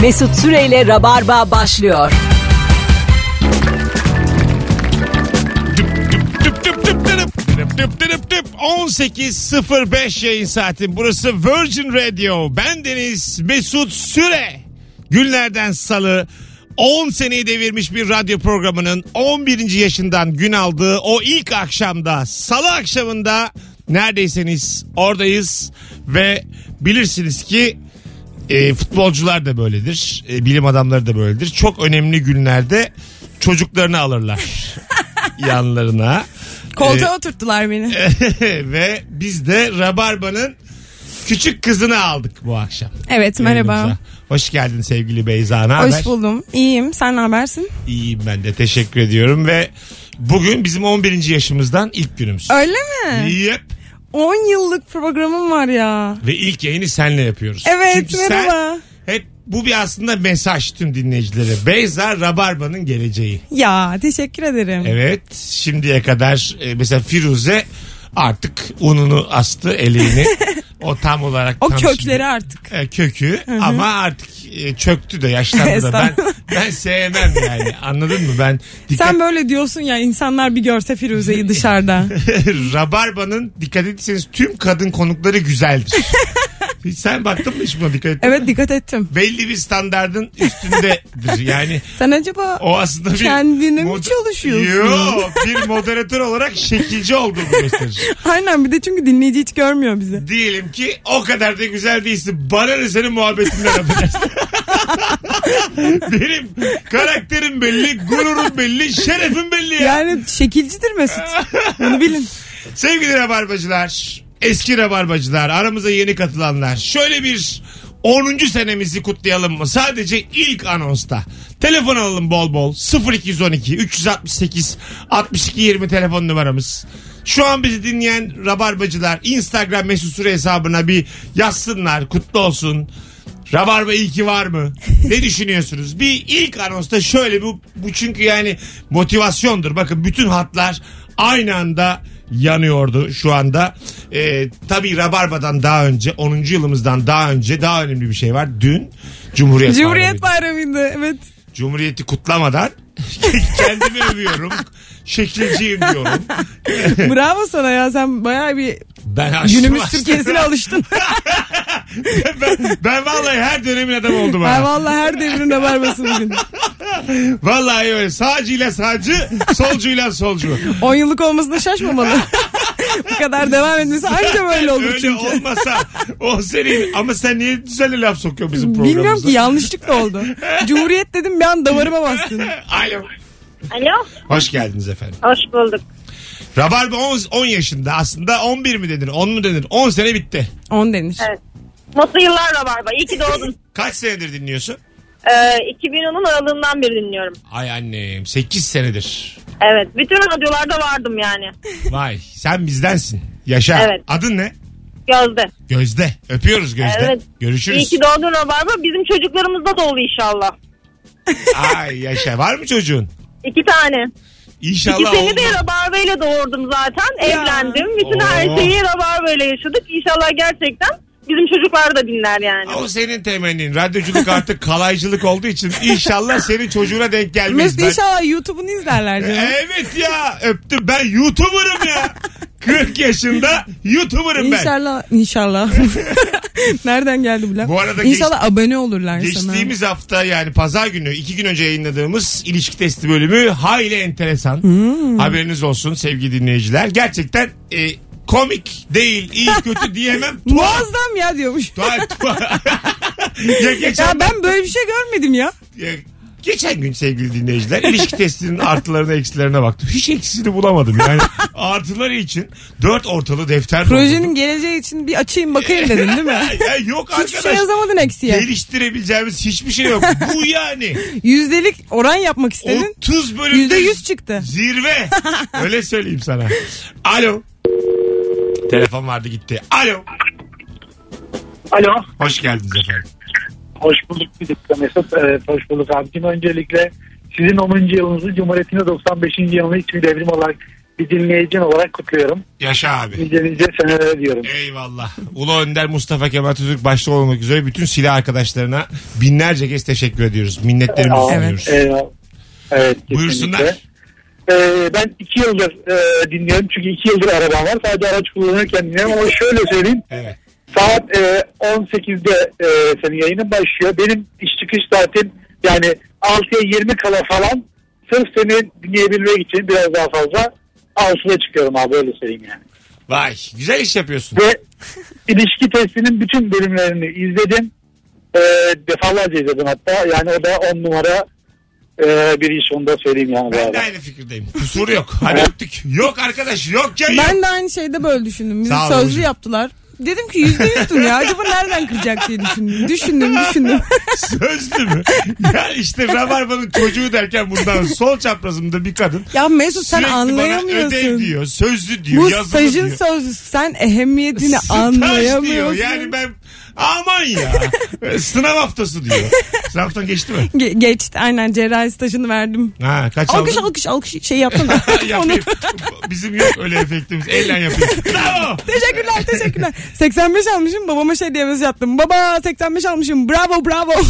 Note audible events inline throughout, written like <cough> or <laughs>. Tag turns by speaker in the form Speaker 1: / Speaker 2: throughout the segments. Speaker 1: Mesut Süreyle Rabarba başlıyor.
Speaker 2: Düp düp düp düp düp dırıp, dırıp düp dırıp düp. 18.05 yayın saati. Burası Virgin Radio. Ben Deniz Mesut Süre. Günlerden salı 10 seneyi devirmiş bir radyo programının 11. yaşından gün aldığı o ilk akşamda salı akşamında neredeyseniz oradayız ve bilirsiniz ki e, futbolcular da böyledir. E, bilim adamları da böyledir. Çok önemli günlerde çocuklarını alırlar yanlarına.
Speaker 3: Koltuğa
Speaker 2: Ee,
Speaker 3: oturttular beni.
Speaker 2: <laughs> Ve biz de Rabarba'nın küçük kızını aldık bu akşam.
Speaker 3: Evet merhaba.
Speaker 2: Yanımıza. Hoş geldin sevgili Beyza. Ne haber?
Speaker 3: Hoş buldum. İyiyim. Sen ne habersin?
Speaker 2: İyiyim ben de teşekkür ediyorum ve bugün bizim 11. yaşımızdan ilk günümüz.
Speaker 3: Öyle mi?
Speaker 2: Yep.
Speaker 3: 10 yıllık programım var ya.
Speaker 2: Ve ilk yayını senle yapıyoruz.
Speaker 3: Evet,
Speaker 2: Çünkü sen
Speaker 3: merhaba.
Speaker 2: hep bu bir aslında mesaj tüm dinleyicilere. Beyza Rabarba'nın geleceği.
Speaker 3: Ya teşekkür ederim.
Speaker 2: Evet şimdiye kadar e, mesela Firuze artık ununu astı
Speaker 3: <laughs>
Speaker 2: eleğini. o tam olarak
Speaker 3: O
Speaker 2: tam
Speaker 3: kökleri
Speaker 2: şimdi-
Speaker 3: artık.
Speaker 2: E, kökü ama artık e, çöktü de yaşlandı da ben
Speaker 3: Estağfurullah.
Speaker 2: ben sevmem yani anladın mı ben dikkat
Speaker 3: Sen böyle diyorsun ya insanlar bir görse
Speaker 2: <laughs>
Speaker 3: Firuze'yi dışarıda.
Speaker 2: Rabarba'nın dikkat etseniz tüm kadın konukları güzeldir.
Speaker 3: <laughs>
Speaker 2: Hiç sen baktın mı hiç buna dikkat ettin?
Speaker 3: Evet dikkat ettim.
Speaker 2: Belli bir standardın üstündedir. Yani
Speaker 3: Sen acaba
Speaker 2: o aslında bir...
Speaker 3: Kendine mi
Speaker 2: mod-
Speaker 3: çalışıyorsun?
Speaker 2: Yo, bir moderatör olarak şekilci olduğunu gösterir.
Speaker 3: <laughs> aynen bir de çünkü dinleyici hiç görmüyor bizi.
Speaker 2: Diyelim ki o kadar da güzel değilsin. Bana ne senin muhabbetinden yapacaksın. Benim karakterim belli, gururum belli, şerefim belli ya.
Speaker 3: Yani şekilcidir Mesut.
Speaker 2: <laughs>
Speaker 3: Bunu bilin.
Speaker 2: Sevgili rabarbacılar, eski rabarbacılar, aramıza yeni katılanlar. Şöyle bir 10. senemizi kutlayalım mı? Sadece ilk anonsta. Telefon alalım bol bol. 0212 368 62 20 telefon numaramız. Şu an bizi dinleyen rabarbacılar Instagram mesut süre hesabına bir yazsınlar. Kutlu olsun. Rabarba iyi ki var mı? Ne düşünüyorsunuz? Bir ilk anonsta şöyle bu, bu çünkü yani motivasyondur. Bakın bütün hatlar aynı anda yanıyordu şu anda. Ee, tabii Rabarba'dan daha önce 10. yılımızdan daha önce daha önemli bir şey var. Dün Cumhuriyet,
Speaker 3: Cumhuriyet
Speaker 2: Bayramı'ydı.
Speaker 3: Bayramı'ydı. Evet.
Speaker 2: Cumhuriyeti kutlamadan <laughs> kendimi övüyorum. Şekilciyim diyorum.
Speaker 3: Bravo sana ya sen bayağı bir
Speaker 2: Ben aştım
Speaker 3: günümüz
Speaker 2: aslında. <laughs>
Speaker 3: Türkiye'sine alıştın.
Speaker 2: ben, ben vallahi her dönemin adamı oldum. ha.
Speaker 3: Ay vallahi her devrin rabarbası bugün.
Speaker 2: Vallahi öyle. Sağcıyla sağcı, solcuyla solcu.
Speaker 3: 10 yıllık olmasına şaşmamalı. Bu kadar devam etmesi <laughs> anca böyle olur
Speaker 2: öyle
Speaker 3: çünkü.
Speaker 2: olmasa o senin ama sen niye düzenli laf sokuyorsun bizim programımıza?
Speaker 3: Bilmiyorum ki yanlışlıkla oldu. Cumhuriyet dedim bir an damarıma bastın.
Speaker 2: <laughs> Alo.
Speaker 4: Alo.
Speaker 2: Hoş geldiniz efendim.
Speaker 4: Hoş bulduk.
Speaker 2: Rabarba 10, 10 yaşında aslında 11 mi denir 10 mu denir 10 sene bitti.
Speaker 3: 10 denir.
Speaker 4: Evet. Mutlu yıllar Rabarba. İyi ki doğdun.
Speaker 2: Kaç senedir dinliyorsun?
Speaker 4: <laughs> Ee, 2010'un aralığından beri dinliyorum.
Speaker 2: Ay annem 8 senedir.
Speaker 4: Evet. Bütün radyolarda vardım yani.
Speaker 2: Vay sen bizdensin. Yaşa.
Speaker 4: Evet.
Speaker 2: Adın ne?
Speaker 4: Gözde.
Speaker 2: Gözde. Öpüyoruz Gözde.
Speaker 4: Evet.
Speaker 2: Görüşürüz.
Speaker 4: İyi ki doğdun Rabarba. Bizim çocuklarımızda da ol inşallah.
Speaker 2: Ay yaşa. Var mı çocuğun?
Speaker 4: İki tane.
Speaker 2: İnşallah
Speaker 4: İki seni
Speaker 2: olmaz.
Speaker 4: de Rabarba ile doğurdum
Speaker 3: Ya.
Speaker 4: zaten. Evlendim. Bütün
Speaker 2: Oo.
Speaker 4: her şeyi Rabarba ile yaşadık. İnşallah gerçekten bizim çocuklar da dinler yani.
Speaker 2: O senin temennin. Radyoculuk artık kalaycılık olduğu için inşallah senin çocuğuna denk gelmez.
Speaker 3: Mesut
Speaker 2: Ben-
Speaker 3: inşallah YouTube'unu izlerler canım.
Speaker 2: Evet ya öptüm ben YouTuber'ım ya. 40 yaşında YouTuber'ım ben.
Speaker 3: İnşallah,
Speaker 2: <laughs>
Speaker 3: inşallah. Nereden geldi bu laf?
Speaker 2: Bu arada geç-
Speaker 3: inşallah abone olurlar
Speaker 2: Geçtiğimiz hafta yani pazar günü iki gün önce yayınladığımız ilişki testi bölümü hayli enteresan.
Speaker 3: Hmm.
Speaker 2: Haberiniz olsun sevgili dinleyiciler. Gerçekten e, komik değil iyi kötü
Speaker 3: <laughs>
Speaker 2: diyemem.
Speaker 3: sana.
Speaker 2: Tuhaf.
Speaker 3: Muazzam ya diyormuş.
Speaker 2: Tuhaf. tuhaf. ya geçen
Speaker 3: Ya ben böyle bir şey görmedim ya.
Speaker 2: Ya, geçen gün sevgili dinleyiciler ilişki testinin artılarına eksilerine baktım. Hiç eksisini bulamadım. Yani artıları için dört ortalı defter
Speaker 3: Projenin geleceği için bir açayım bakayım dedin değil mi?
Speaker 2: doldurdum. <laughs> ya yok
Speaker 3: Hiçbir şey
Speaker 2: arkadaş.
Speaker 3: yazamadın eksiye.
Speaker 2: Geliştirebileceğimiz hiçbir şey yok. Bu
Speaker 3: <laughs>
Speaker 2: yani.
Speaker 3: Yüzdelik oran yapmak istedin.
Speaker 2: 30 bölümde
Speaker 3: Yüzde yüz çıktı. <laughs>
Speaker 2: Zirve. Öyle söyleyeyim sana. Alo. Telefon vardı gitti. Alo.
Speaker 5: Alo.
Speaker 2: Hoş geldiniz efendim.
Speaker 5: Hoş bulduk bir dakika Mesut. Ee, hoş bulduk abicim. Öncelikle sizin 10. yılınızı Cumhuriyet'in de 95. yılını hiçbir devrim olarak bir dinleyicin olarak kutluyorum.
Speaker 2: Yaşa abi.
Speaker 5: Nice nice senelere diyorum.
Speaker 2: Eyvallah. Ulu Önder Mustafa Kemal Atatürk başta olmak üzere bütün silah arkadaşlarına binlerce kez teşekkür ediyoruz. Minnetlerimizi
Speaker 5: Aa,
Speaker 2: sunuyoruz.
Speaker 5: eyvallah. Evet, kesinlikle.
Speaker 2: Buyursunlar.
Speaker 5: Ee, ben iki yıldır e, dinliyorum çünkü iki yıldır arabam var. Sadece araç kullanırken dinliyorum ama şöyle söyleyeyim.
Speaker 2: Evet.
Speaker 5: Saat e, 18'de e, senin yayının başlıyor. Benim iş çıkış saatim yani 6'ya 20 kala falan sırf seni dinleyebilmek için biraz daha fazla 6'da çıkıyorum abi öyle söyleyeyim yani.
Speaker 2: Vay güzel iş yapıyorsun.
Speaker 5: Ve ilişki testinin bütün bölümlerini izledim. E, defalarca izledim hatta. Yani o da 10 numara e, bir iş onu da söyleyeyim yani. bu
Speaker 2: Ben de
Speaker 5: arada.
Speaker 2: aynı fikirdeyim. Kusur yok. Hadi öptük. Yok arkadaş yok ya. yok.
Speaker 3: Ben de aynı şeyde böyle düşündüm. Bizi
Speaker 2: Sağ ol
Speaker 3: sözlü
Speaker 2: babacığım.
Speaker 3: yaptılar. Dedim ki yüzde yüz ya. Acaba nereden kıracak diye düşündüm. Düşündüm
Speaker 2: <laughs>
Speaker 3: düşündüm.
Speaker 2: Sözlü mü? ya işte Rabarba'nın çocuğu derken bundan sol çaprazımda bir kadın.
Speaker 3: ya Mesut sen
Speaker 2: sürekli bana ödev
Speaker 3: anlayamıyorsun.
Speaker 2: diyor, sözlü diyor,
Speaker 3: Bu
Speaker 2: yazılı
Speaker 3: stajın
Speaker 2: diyor.
Speaker 3: sözlüsü. Sen ehemmiyetini
Speaker 2: Staj diyor.
Speaker 3: anlayamıyorsun.
Speaker 2: Yani ben aman ya. E, Sınav haftası diyor. Sınav haftan geçti mi?
Speaker 3: Ge- geçti aynen cerrahi stajını verdim.
Speaker 2: Ha kaç <laughs>
Speaker 3: Alkış
Speaker 2: aldın?
Speaker 3: alkış alkış
Speaker 2: <laughs>
Speaker 3: şey yaptın. Onu-
Speaker 2: Yapayım. Bizim yok öyle efektimiz. Elle yapayım. Bravo.
Speaker 3: Teşekkürler teşekkürler. <laughs> 85 almışım babama şey diye mesaj attım. Baba 85 almışım bravo bravo. <laughs>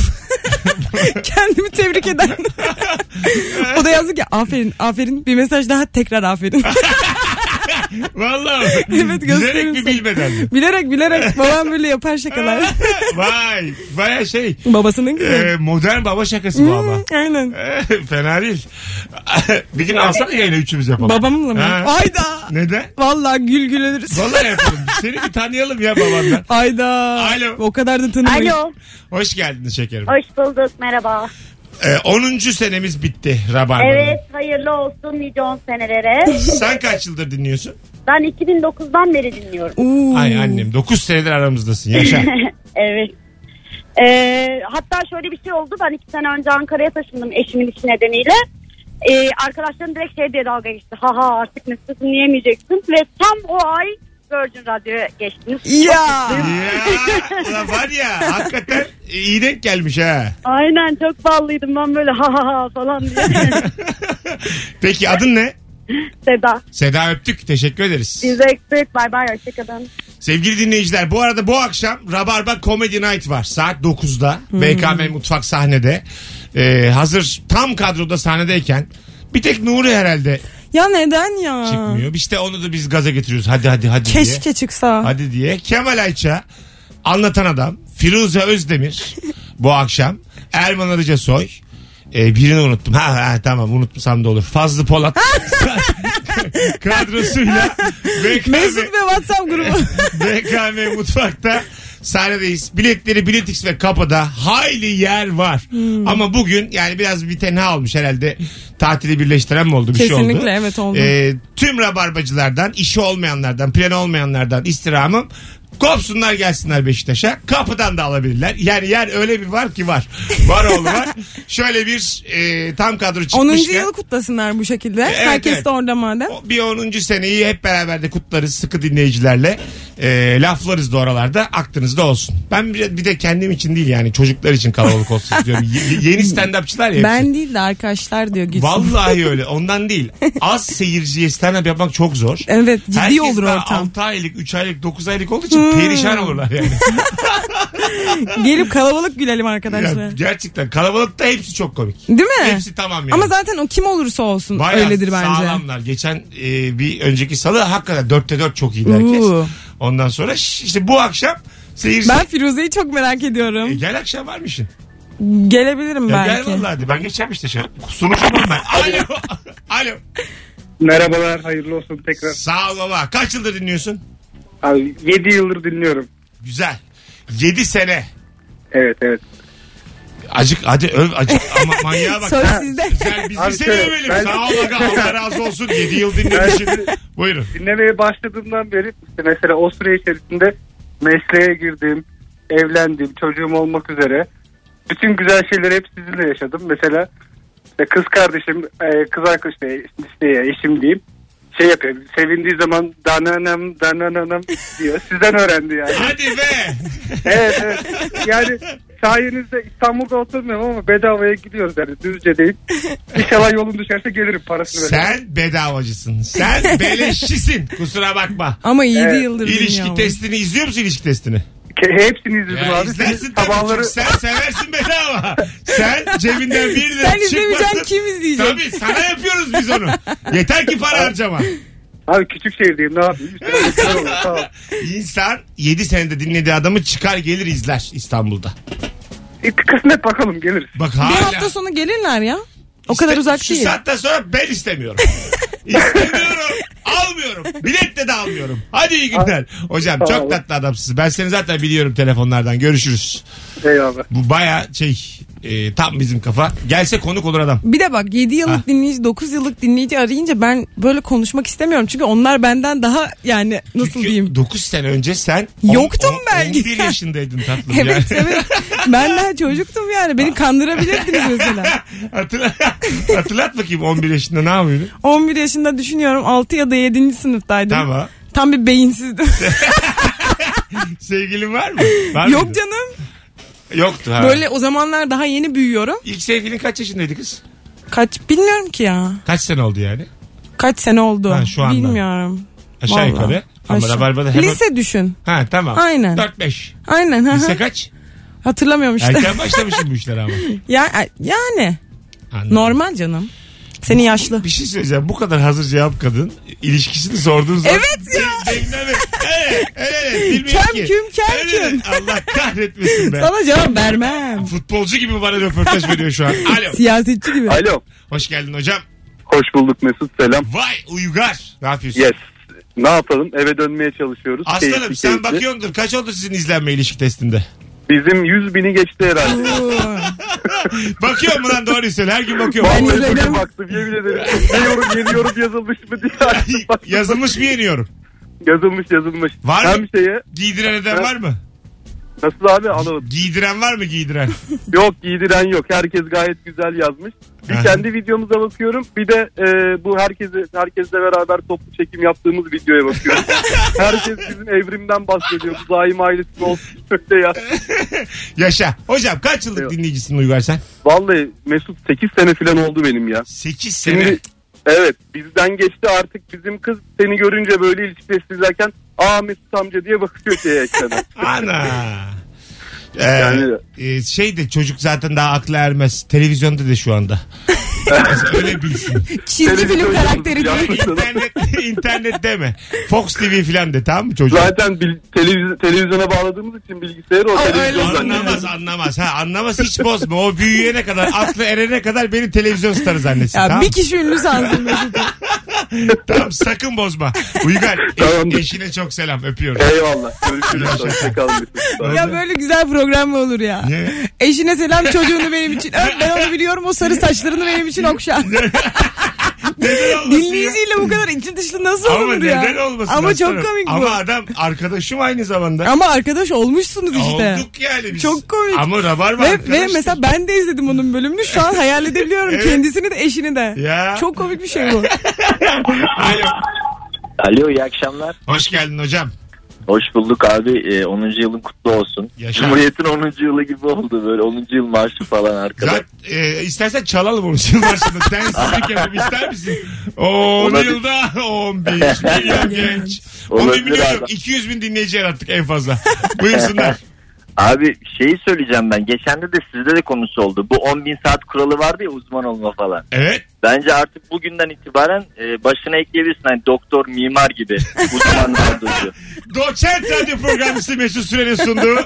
Speaker 3: Kendimi tebrik eden. <laughs> o da yazdı ki aferin aferin bir mesaj daha tekrar aferin. <laughs>
Speaker 2: Vallahi.
Speaker 3: Evet, gösteririm
Speaker 2: Bilerek mi
Speaker 3: sana.
Speaker 2: bilmeden mi?
Speaker 3: bilerek bilerek babam böyle yapar şakalar. <laughs>
Speaker 2: <laughs> Vay. Baya şey.
Speaker 3: Babasının kızı.
Speaker 2: e, modern baba şakası bu ama.
Speaker 3: Hmm, aynen.
Speaker 2: E, <laughs> Fena değil. bir gün alsana yayına üçümüz yapalım.
Speaker 3: Babamla mı?
Speaker 2: Ha.
Speaker 3: Ayda.
Speaker 2: Neden?
Speaker 3: Vallahi gül güleriz.
Speaker 2: Vallahi yapalım. Seni bir tanıyalım ya babandan.
Speaker 3: Ayda.
Speaker 2: Alo.
Speaker 3: O kadar da tanımayız.
Speaker 6: Alo,
Speaker 2: Hoş geldin şekerim.
Speaker 6: hoş bulduk, merhaba.
Speaker 2: Ee, 10. senemiz bitti Rabarba'nın.
Speaker 6: Evet, hayırlı olsun nice 10 senelere.
Speaker 2: Sen kaç yıldır dinliyorsun?
Speaker 6: Ben 2009'dan beri dinliyorum. <laughs>
Speaker 3: Oo.
Speaker 2: Ay annem 9 senedir aramızdasın yaşa.
Speaker 6: evet. Ee, hatta şöyle bir şey oldu, ben iki sene önce Ankara'ya taşındım eşimin işi nedeniyle. Ee, arkadaşlarım direkt şey diye dalga geçti, haha artık Mesut'u dinleyemeyeceksin. Ve tam o ay Virgin Radyo'ya geçtiniz.
Speaker 3: Ya.
Speaker 2: ya ulan var ya hakikaten iyi denk gelmiş ha.
Speaker 6: Aynen çok ballıydım ben böyle ha ha ha falan diye.
Speaker 2: <laughs> Peki adın ne?
Speaker 6: Seda.
Speaker 2: Seda öptük. Teşekkür ederiz.
Speaker 6: Size eksik. Bay bay. Hoşçakalın.
Speaker 2: Sevgili dinleyiciler bu arada bu akşam Rabarba Comedy Night var. Saat 9'da
Speaker 3: Hmm.
Speaker 2: BKM Mutfak sahnede. Ee, hazır tam kadroda sahnedeyken bir tek Nuri herhalde
Speaker 3: Ya neden ya?
Speaker 2: çıkmıyor. İşte onu da biz gaza getiriyoruz. Hadi hadi hadi diye.
Speaker 3: Keşke çıksa.
Speaker 2: Hadi diye. Kemal Ayça, Anlatan Adam, Firuze Özdemir
Speaker 3: <laughs>
Speaker 2: bu akşam. Erman Arıca Soy. Ee, birini unuttum. Ha, ha tamam unutmasam da olur. Fazlı
Speaker 3: <laughs>
Speaker 2: Polat. <laughs> Kadrosuyla. BKM,
Speaker 3: Mesut ve
Speaker 2: <laughs>
Speaker 3: WhatsApp grubu.
Speaker 2: BKM Mutfak'ta sahnedeyiz. Biletleri Biletix ve Kapı'da hayli yer var.
Speaker 3: Hmm.
Speaker 2: Ama bugün yani biraz bir tenha olmuş herhalde. Tatili birleştiren mi oldu bir şey oldu.
Speaker 3: Kesinlikle, evet oldu.
Speaker 2: Ee, tüm rabarbacılardan, işi olmayanlardan, planı olmayanlardan istirhamım. Kopsunlar gelsinler Beşiktaş'a. Kapıdan da alabilirler. Yani yer öyle bir var ki var. Var oğlu
Speaker 3: <laughs>
Speaker 2: var. Şöyle bir e, tam kadro
Speaker 3: 10.
Speaker 2: çıkmışken.
Speaker 3: yılı kutlasınlar bu şekilde.
Speaker 2: Evet,
Speaker 3: Herkes
Speaker 2: evet.
Speaker 3: de orada madem.
Speaker 2: O- bir 10. seneyi hep beraber de kutlarız sıkı dinleyicilerle. E, laflarız da oralarda aklınızda olsun. Ben bir, bir de kendim için değil yani çocuklar için kalabalık olsun istiyorum. Ye- yeni stand-upçılar ya. hepsi.
Speaker 3: Ben değil de arkadaşlar diyor gitsin.
Speaker 2: Vallahi öyle ondan değil. Az seyirciye stand-up yapmak çok zor.
Speaker 3: Evet ciddi
Speaker 2: Herkes
Speaker 3: olur
Speaker 2: daha
Speaker 3: ortam. Hmm.
Speaker 2: 6 aylık, 3 aylık, 9 aylık olduğu için perişan olurlar yani.
Speaker 3: Gelip kalabalık gülelim
Speaker 2: Ya
Speaker 3: arkadaşlar.
Speaker 2: gerçekten kalabalıkta hepsi çok komik.
Speaker 3: Değil mi?
Speaker 2: Hepsi tamam yani.
Speaker 3: Ama zaten o kim olursa olsun
Speaker 2: Bayağı
Speaker 3: öyledir bence.
Speaker 2: sağlamlar. Geçen e, bir önceki salı hakikaten dörtte dört çok iyiydi herkes.
Speaker 3: Oo.
Speaker 2: Ondan sonra ş- işte bu akşam seyirci...
Speaker 3: Ben Firuze'yi çok merak
Speaker 2: E,
Speaker 3: ediyorum.
Speaker 2: gel akşam varmışsın.
Speaker 3: Gelebilirim
Speaker 2: Ya gel
Speaker 3: belki.
Speaker 2: vallahi hadi. Ben geçeceğim işte şöyle. Sunucum var ben.
Speaker 3: <laughs>
Speaker 2: Alo. Alo.
Speaker 7: Merhabalar, hayırlı olsun tekrar.
Speaker 2: Sağ ol baba. Kaç yıldır dinliyorsun?
Speaker 7: Abi 7 yıldır dinliyorum.
Speaker 2: Güzel. 7 sene.
Speaker 7: Evet evet.
Speaker 2: Acık hadi öv acık ama manyağa
Speaker 3: <laughs>
Speaker 2: bak.
Speaker 3: Söz sizde.
Speaker 2: Güzel, biz bir
Speaker 7: Abi
Speaker 2: sene
Speaker 7: şöyle,
Speaker 2: övelim.
Speaker 7: ben-
Speaker 2: Sağ ol
Speaker 7: <laughs>
Speaker 2: aga, Allah razı olsun. 7 yıl dinlemişsin. Buyurun.
Speaker 7: Dinlemeye başladığımdan beri işte mesela o süre içerisinde mesleğe girdim, evlendim, çocuğum olmak üzere. Bütün güzel şeyleri hep sizinle yaşadım. Mesela işte kız kardeşim, e, kız arkadaşım, e, işte ya, eşim diyeyim şey yapıyor. Sevindiği zaman dananam <laughs> dananam diyor. Sizden öğrendi yani.
Speaker 2: Hadi be.
Speaker 7: Evet evet. Yani sayenizde İstanbul'da oturmuyorum ama bedavaya gidiyoruz yani Düzce'deyim. İnşallah yolun düşerse gelirim parasını veririm.
Speaker 2: Sen bedavacısın.
Speaker 3: <laughs>
Speaker 2: Sen beleşçisin. Kusura bakma.
Speaker 3: Ama iyiydi
Speaker 7: Evet.
Speaker 3: Yıldırım
Speaker 2: İlişki
Speaker 3: ya.
Speaker 2: testini izliyor musun ilişki testini?
Speaker 7: Ke- Hepsini izledim
Speaker 2: Ya
Speaker 7: abi.
Speaker 2: izlersin tabii.
Speaker 7: Sabahları
Speaker 2: çünkü Sen seversin bedava. Sen cebinden bir lira
Speaker 3: Sen izlemeyeceksin
Speaker 2: çıkmasın.
Speaker 3: kim izleyecek?
Speaker 2: Tabii sana yapıyoruz biz onu. Yeter ki para
Speaker 3: <laughs>
Speaker 2: harcama.
Speaker 7: Abi küçük şehirdeyim ne yapayım?
Speaker 2: <laughs>
Speaker 7: Üstüne bekar olur, sağ ol.
Speaker 2: İnsan 7 senede dinlediği adamı çıkar gelir izler İstanbul'da.
Speaker 7: E, kısmet bakalım geliriz.
Speaker 2: Bak
Speaker 3: Bir
Speaker 2: hala.
Speaker 3: hafta sonra gelirler ya. O kadar
Speaker 2: İşte
Speaker 3: uzak
Speaker 2: Şu
Speaker 3: değil.
Speaker 2: saatten sonra ben istemiyorum.
Speaker 3: <laughs>
Speaker 2: istemiyorum. Almıyorum. Bilet de de almıyorum. Hadi iyi günler. Hocam
Speaker 7: Sağ
Speaker 2: çok
Speaker 7: olun.
Speaker 2: tatlı adamsınız. Ben seni zaten biliyorum telefonlardan. Görüşürüz.
Speaker 7: Eyvallah.
Speaker 2: Bu baya şey e, tam bizim kafa. Gelse konuk olur adam.
Speaker 3: Bir de bak 7 yıllık
Speaker 2: Ha.
Speaker 3: dinleyici 9 yıllık dinleyici arayınca ben böyle konuşmak istemiyorum. Çünkü onlar benden daha yani nasıl
Speaker 2: Çünkü
Speaker 3: diyeyim.
Speaker 2: 9 sene önce sen on-
Speaker 3: Yoktum
Speaker 2: on-
Speaker 3: belki.
Speaker 2: 11 yaşındaydın
Speaker 3: <laughs>
Speaker 2: tatlım.
Speaker 3: Evet
Speaker 2: yani.
Speaker 3: evet. Ben daha çocuktum yani. Beni kandırabilirdiniz <laughs> mesela.
Speaker 2: <laughs> Hatırla, hatırlat bakayım 11 yaşında ne yapıyordun?
Speaker 3: 11 yaşında düşünüyorum 6 ya da 7. sınıftaydım.
Speaker 2: Tamam.
Speaker 3: Tam bir beyinsizdim.
Speaker 2: Sevgilin var mı? Var
Speaker 3: Yok
Speaker 2: mıydı?
Speaker 3: canım.
Speaker 2: Yoktu ha.
Speaker 3: Böyle o zamanlar daha yeni büyüyorum.
Speaker 2: İlk sevgilin kaç yaşındaydı kız?
Speaker 3: Kaç bilmiyorum ki ya.
Speaker 2: Kaç sene oldu yani?
Speaker 3: Kaç sene oldu?
Speaker 2: Ha, şu anda.
Speaker 3: Bilmiyorum.
Speaker 2: Aşağı
Speaker 3: Vallahi.
Speaker 2: yukarı. Ama
Speaker 3: Aşağı-
Speaker 2: Rabarba'da hemen...
Speaker 3: Lise düşün.
Speaker 2: Ha tamam.
Speaker 3: Aynen.
Speaker 2: 4-5.
Speaker 3: Aynen. hı hı.
Speaker 2: Lise
Speaker 3: <laughs>
Speaker 2: kaç?
Speaker 3: Hatırlamıyorum işte.
Speaker 2: Erken başlamışım bu işlere ama.
Speaker 3: ya, e, yani
Speaker 2: Anladım.
Speaker 3: normal canım. Seni yaşlı.
Speaker 2: Bir şey söyleyeceğim. Bu kadar hazır cevap kadın ilişkisini sorduğun zaman.
Speaker 3: Evet ya.
Speaker 2: Cebinden ver. Evet, evet, bilmiyorum
Speaker 3: Kem
Speaker 2: ki.
Speaker 3: küm, kem
Speaker 2: Evet, evet. Allah kahretmesin be.
Speaker 3: Sana cevap vermem.
Speaker 2: Futbolcu gibi bana röportaj veriyor şu an.
Speaker 3: <laughs>
Speaker 2: Alo.
Speaker 3: Siyasetçi gibi.
Speaker 8: Alo.
Speaker 2: Hoş geldin hocam.
Speaker 8: Hoş bulduk Mesut selam.
Speaker 2: Vay Uygar. Ne yapıyorsun?
Speaker 8: Yes. Ne yapalım eve dönmeye çalışıyoruz.
Speaker 2: Aslanım
Speaker 8: Keyifli,
Speaker 2: sen
Speaker 8: keyifli.
Speaker 2: bakıyordur. Kaç oldu sizin izlenme ilişki testinde?
Speaker 8: Bizim 100 bini geçti herhalde.
Speaker 3: Oo.
Speaker 2: Bakıyor mu lan doğruyu söyle. Her gün bakıyor.
Speaker 8: Vallahi
Speaker 3: izledim.
Speaker 8: bugün baktım yemin ederim. Ne yorum yeni yorum yazılmış
Speaker 2: <laughs>
Speaker 8: mı diye.
Speaker 2: <laughs>
Speaker 8: Bak,
Speaker 2: Yazılmış mı yeniyorum?
Speaker 8: yazılmış yazılmış.
Speaker 2: Var mı?
Speaker 8: Hem şeye
Speaker 2: Giydiren eden var mı?
Speaker 8: nasıl abi anlamadım.
Speaker 2: Giydiren var mı giydiren? <laughs>
Speaker 8: Yok giydiren yok. Herkes gayet güzel yazmış.
Speaker 2: Aha.
Speaker 8: Bir kendi videomuza bakıyorum. Bir de e, bu herkese herkesle beraber toplu çekim yaptığımız videoya
Speaker 2: <laughs>
Speaker 8: bakıyorum. Herkes bizim evrimden bahsediyor. Bu daim ailesi olsun <laughs> öyle ya.
Speaker 2: Yaşa. Hocam kaç yıllık
Speaker 8: Yok.
Speaker 2: dinleyicisin Uygar sen?
Speaker 8: Vallahi Mesut 8 sene falan oldu benim ya.
Speaker 2: 8 sene.
Speaker 8: Şimdi evet bizden geçti artık bizim kız seni görünce böyle ilişki testi izlerken aa Mesut amca diye bakıyor şeye ekrana.
Speaker 2: Ana. Ee,
Speaker 8: <laughs> Yani-
Speaker 2: e, şey de çocuk zaten daha aklı ermez. Televizyonda da şu
Speaker 8: <laughs>
Speaker 2: anda. Öyle bilsin.
Speaker 3: Çizgi film
Speaker 8: Televizyon
Speaker 3: karakteri
Speaker 8: yazılmış,
Speaker 3: değil.
Speaker 8: yapmışsınız.
Speaker 2: İnternet, internet deme. Fox TV filan de tamam mı çocuk?
Speaker 8: <laughs> Zaten bil- televiz- televizyona bağladığımız için bilgisayarı o
Speaker 3: Aa, öyle
Speaker 8: televizyondan.
Speaker 2: Anlamaz anlamaz. Ha, anlamaz hiç bozma. O büyüyene kadar aklı erene kadar beni televizyon starı zannetsin.
Speaker 3: Ya
Speaker 2: tamam?
Speaker 3: bir kişi ünlü sansın Mesut.
Speaker 2: tamam sakın bozma. Uygar e-
Speaker 8: Tamamdır. E-
Speaker 2: eşine çok selam öpüyorum.
Speaker 8: Eyvallah. Görüşürüz. Hoşçakalın. Mesut.
Speaker 3: Ya böyle güzel program mı olur ya?
Speaker 2: Niye?
Speaker 3: Eşine selam çocuğunu benim için. Öp ben onu biliyorum o sarı saçlarını benim için
Speaker 2: <laughs>
Speaker 3: okşa.
Speaker 2: Neden olmasın ya?
Speaker 3: Dinleyiciyle bu kadar içi dışlı nasıl
Speaker 2: Ama
Speaker 3: olur ya?
Speaker 2: neden olmasın?
Speaker 3: Ama
Speaker 2: aslanım?
Speaker 3: çok komik bu.
Speaker 2: Ama
Speaker 3: Ama,
Speaker 2: adam arkadaşım aynı zamanda.
Speaker 3: arkadaş olmuşsunuz işte.
Speaker 2: Olduk yani biz.
Speaker 3: Çok komik.
Speaker 2: Ama rabarba
Speaker 3: Ve,
Speaker 2: arkadaştır.
Speaker 3: ve mesela ben de izledim onun bölümünü. Şu an hayal edebiliyorum
Speaker 2: <laughs> Evet.
Speaker 3: kendisini de eşini de.
Speaker 2: Ya.
Speaker 3: Çok komik bir şey bu.
Speaker 2: Alo.
Speaker 9: Alo iyi akşamlar.
Speaker 2: Hoş geldin hocam.
Speaker 9: Hoş bulduk abi. Ee, 10. yılın kutlu olsun.
Speaker 2: Yaşa.
Speaker 9: Cumhuriyet'in 10. yılı gibi oldu böyle 10. yıl marşı falan arkada.
Speaker 2: Zaten e, istersen çalalım onu yıl başında. Densizlik yapıp ister misin? O
Speaker 9: Olabilir.
Speaker 2: yılda 15 milyon genç. 11
Speaker 9: Olabilir
Speaker 2: milyon
Speaker 9: abi.
Speaker 2: yok. 200 bin dinleyici yarattık en fazla. Buyursunlar.
Speaker 9: Abi şeyi söyleyeceğim ben. Geçen de de sizde de konusu oldu. Bu 10 bin saat kuralı vardı ya uzman olma falan.
Speaker 2: Evet.
Speaker 9: Bence artık bugünden itibaren e, başına ekleyebilirsin. Hani doktor, mimar
Speaker 2: <laughs>
Speaker 9: gibi uzman radyocu.
Speaker 2: Doçent radyo programcısı Mesut Süren'in sunduğu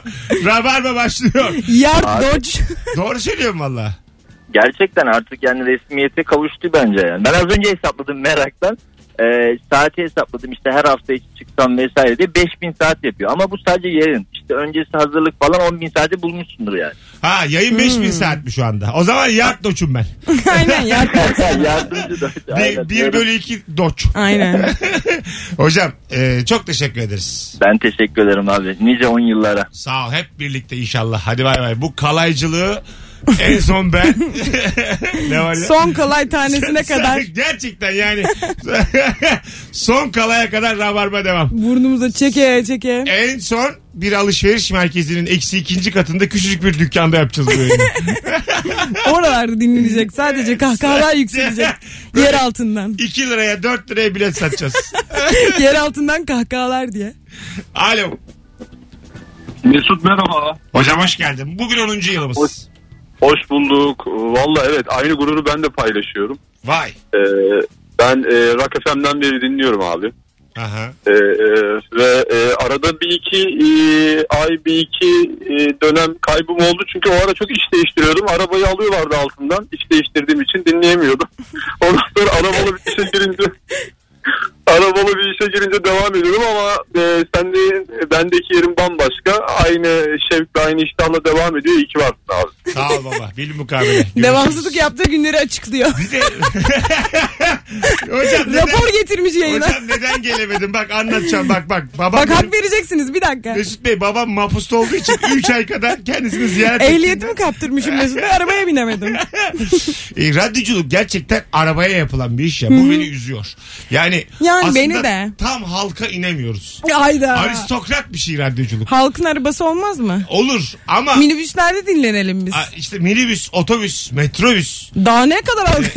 Speaker 2: Rabarba başlıyor.
Speaker 3: Yard
Speaker 9: Abi.
Speaker 3: Dodge. <laughs>
Speaker 2: Doğru söylüyorum valla.
Speaker 9: Gerçekten artık yani resmiyete kavuştu bence yani. Ben az önce hesapladım meraktan. Ee, saati hesapladım işte her hafta içi çıksam vesaire diye 5000 saat yapıyor. Ama bu sadece yarın. İşte öncesi hazırlık falan 10.000 saati
Speaker 2: <laughs>
Speaker 9: bulmuşsundur yani.
Speaker 2: Ha yayın 5000 saat mi şu anda? O zaman yard doçum ben.
Speaker 3: Aynen Yard Dodge.
Speaker 9: Yardımcı da.
Speaker 2: Bir,
Speaker 9: Aynen.
Speaker 2: bir bölü iki doç. <laughs>
Speaker 3: Aynen.
Speaker 2: Hocam e, çok teşekkür ederiz.
Speaker 9: Ben teşekkür ederim abi. Nice 10 yıllara.
Speaker 2: Sağ ol. Hep birlikte inşallah. Hadi bay bay. Bu kalaycılığı en son ben. <laughs> ne var ya?
Speaker 3: Son kolay
Speaker 2: <laughs>
Speaker 3: tanesine kadar
Speaker 2: Gerçekten yani. <laughs> son kalaya kadar rabarba devam. <laughs>
Speaker 3: burnumuza çeke çeke.
Speaker 2: En son bir alışveriş merkezinin eksi ikinci katında küçücük bir dükkanda yapacağız bu yayını.
Speaker 3: Oralarda dinlenecek. Sadece kahkahalar yükselecek. Yer altından.
Speaker 2: 2 liraya 4 liraya bilet satacağız.
Speaker 3: <laughs> Yer altından kahkahalar diye.
Speaker 2: Alo.
Speaker 8: Mesut merhaba.
Speaker 2: Hocam hoş geldin. Bugün 10.
Speaker 8: Hoş.
Speaker 2: yılımız.
Speaker 8: Hoş bulduk. Valla evet aynı gururu ben de paylaşıyorum.
Speaker 2: Vay.
Speaker 8: Ee, ben e, Rock FM'den beri dinliyorum abi.
Speaker 2: Aha.
Speaker 8: Ee, e, ve e, arada bir iki e, ay bir iki e, dönem kaybım oldu. Çünkü o ara çok iş değiştiriyordum. Arabayı alıyorlardı altından. İş değiştirdiğim için dinleyemiyordum. Ondan sonra arabalı bir işe girince arabalı bir işe girince devam ediyorum ama e, sende, bendeki yerim bambaşka. Aynı şevkle aynı iştahla devam ediyor. İyi ki varsın abi.
Speaker 2: Sağ ol baba. Bil mukabele. Görüşürüz.
Speaker 3: <laughs> Devamsızlık yaptığı günleri açıklıyor. <laughs>
Speaker 2: Bir de- <laughs> hocam neden,
Speaker 3: Rapor getirmiş yayına.
Speaker 2: hocam neden gelemedin? Bak anlatacağım bak bak. Babam
Speaker 3: Bak hak
Speaker 2: benim-
Speaker 3: vereceksiniz bir dakika.
Speaker 2: Mesut Bey babam mapusta olduğu için 3 ay kadar kendisini ziyaret
Speaker 3: Ehliyetimi kaptırmışım
Speaker 2: <laughs>
Speaker 3: Mesut'a arabaya binemedim. <laughs>
Speaker 2: E, radyoculuk gerçekten arabaya yapılan bir iş ya. Bu beni üzüyor. Yani,
Speaker 3: Yani
Speaker 2: aslında
Speaker 3: beni de.
Speaker 2: tam halka inemiyoruz.
Speaker 3: Hayda.
Speaker 2: Aristokrat bir şey radyoculuk.
Speaker 3: Halkın arabası olmaz mı?
Speaker 2: Olur ama
Speaker 3: Minibüslerde dinlenelim biz.
Speaker 2: a, işte minibüs, otobüs, metrobüs.
Speaker 3: Daha ne
Speaker 2: <laughs>
Speaker 3: kadar halkın?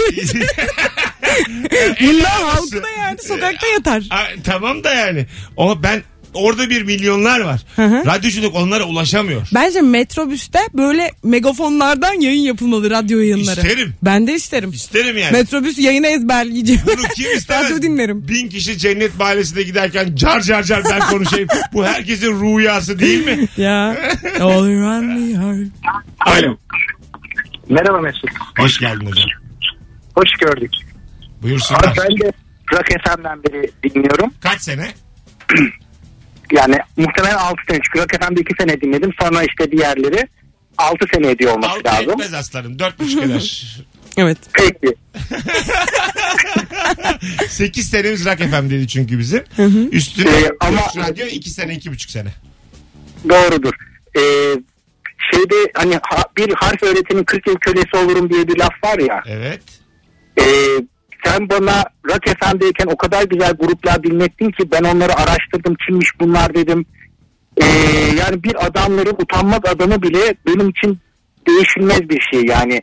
Speaker 2: Bunlar
Speaker 3: halkı da yani sokakta yatar.
Speaker 2: tamam da yani. O ben orada bir milyonlar var.
Speaker 3: hı.
Speaker 2: Radyoculuk onlara ulaşamıyor.
Speaker 3: Bence metrobüste böyle megafonlardan yayın yapılmalı radyo yayınları.
Speaker 2: İsterim.
Speaker 3: Ben de isterim.
Speaker 2: İsterim yani.
Speaker 3: Metrobüs yayını ezberleyeceğim.
Speaker 2: Bunu
Speaker 3: <laughs>
Speaker 2: kim istemez?
Speaker 3: Radyo dinlerim.
Speaker 2: Bin kişi cennet mahallesinde giderken car car car ben
Speaker 3: <laughs>
Speaker 2: konuşayım. Bu herkesin rüyası değil mi?
Speaker 3: ya. All around me are-
Speaker 2: Alo.
Speaker 5: Merhaba Mesut.
Speaker 2: Hoş geldin hocam.
Speaker 5: Hoş gördük.
Speaker 2: Buyursunlar.
Speaker 5: Ben de Rock FM'den beri dinliyorum.
Speaker 2: Kaç sene?
Speaker 5: Yani muhtemelen 6 sene çünkü Rock FM'de 2 sene dinledim. Sonra işte diğerleri 6 sene ediyor olması
Speaker 2: Altı
Speaker 5: lazım.
Speaker 2: etmez aslanım. Dört buçuk
Speaker 5: <laughs>
Speaker 2: eder.
Speaker 3: Evet.
Speaker 5: Peki.
Speaker 2: Sekiz senemiz Rock FM dedi çünkü bizim. Üstüne
Speaker 5: Ee, ama-
Speaker 2: Türk radyo iki sene iki buçuk sene.
Speaker 5: Doğrudur. Ee, şeyde hani ha- bir harf öğretimin 40 yıl kölesi olurum diye bir laf var ya.
Speaker 2: Evet.
Speaker 5: Ee, sen bana Rock FM'deyken o kadar güzel gruplar dinlettin ki ben onları araştırdım kimmiş bunlar dedim. Ee, yani bir adamların utanmak adamı bile benim için değişilmez bir şey yani.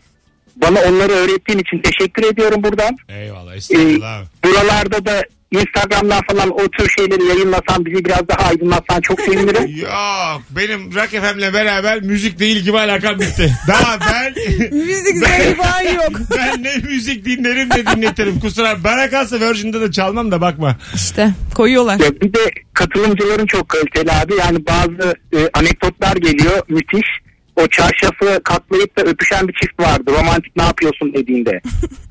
Speaker 5: Bana onları öğrettiğin için teşekkür ediyorum buradan.
Speaker 2: Eyvallah.
Speaker 5: Ee,
Speaker 2: Estağfurullah. abi.
Speaker 5: buralarda da Instagram'dan falan o tür şeyleri yayınlasan bizi biraz daha aydınlatsan çok sevinirim.
Speaker 2: Yok benim Rock FM'le beraber müzikle ilgimi alakam bitti. Daha ben
Speaker 3: <laughs> Müzik zevki falan yok.
Speaker 2: ben ne müzik dinlerim ne dinletirim. Kusura bana kalsa Virgin'de de çalmam da bakma.
Speaker 3: İşte koyuyorlar.
Speaker 5: Ya bir de katılımcıların çok kaliteli abi. Yani bazı e, anekdotlar geliyor müthiş. O çarşafı katlayıp da öpüşen bir çift vardı. Romantik ne
Speaker 3: <laughs>
Speaker 5: yapıyorsun dediğinde.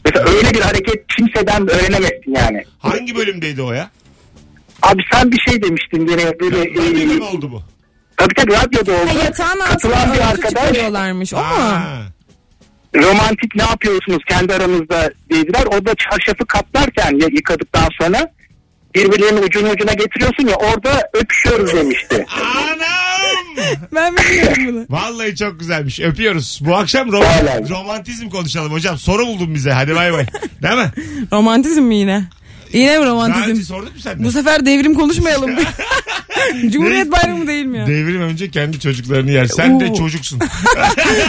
Speaker 5: Mesela öyle bir hareket kimseden öğrenemezsin yani.
Speaker 2: Hangi bölümdeydi o ya?
Speaker 5: Abi sen bir şey demiştin gene böyle
Speaker 2: Radyoda
Speaker 5: e,
Speaker 2: mı oldu bu?
Speaker 5: tabii tabii radyoda oldu.
Speaker 3: Ha, yatağın
Speaker 5: Katılan bir
Speaker 3: altına örtü
Speaker 5: arkadaş
Speaker 3: çıkarıyorlarmış. O mu?
Speaker 2: Aa,
Speaker 5: romantik ne yapıyorsunuz kendi aranızda dediler. O da çarşafı katlarken ya- yıkadıktan sonra birbirlerinin ucunu ucuna getiriyorsun ya orada öpüşüyoruz demişti.
Speaker 2: Anam!
Speaker 3: Ben bilmiyorum bunu.
Speaker 2: Vallahi çok güzelmiş. Öpüyoruz. Bu akşam
Speaker 5: Vallahi.
Speaker 2: rom- romantizm konuşalım hocam. Soru buldun bize. Hadi bay bay. Değil mi?
Speaker 3: Romantizm mi yine? Yine mi
Speaker 2: Daha önce
Speaker 3: romantizm?
Speaker 2: sorduk mu sen de?
Speaker 3: Bu sefer devrim
Speaker 2: <laughs>
Speaker 3: konuşmayalım. Cumhuriyet bayramı değil mi ya?
Speaker 2: Devrim önce kendi çocuklarını yer. Sen de
Speaker 3: Oo. <laughs>
Speaker 2: çocuksun.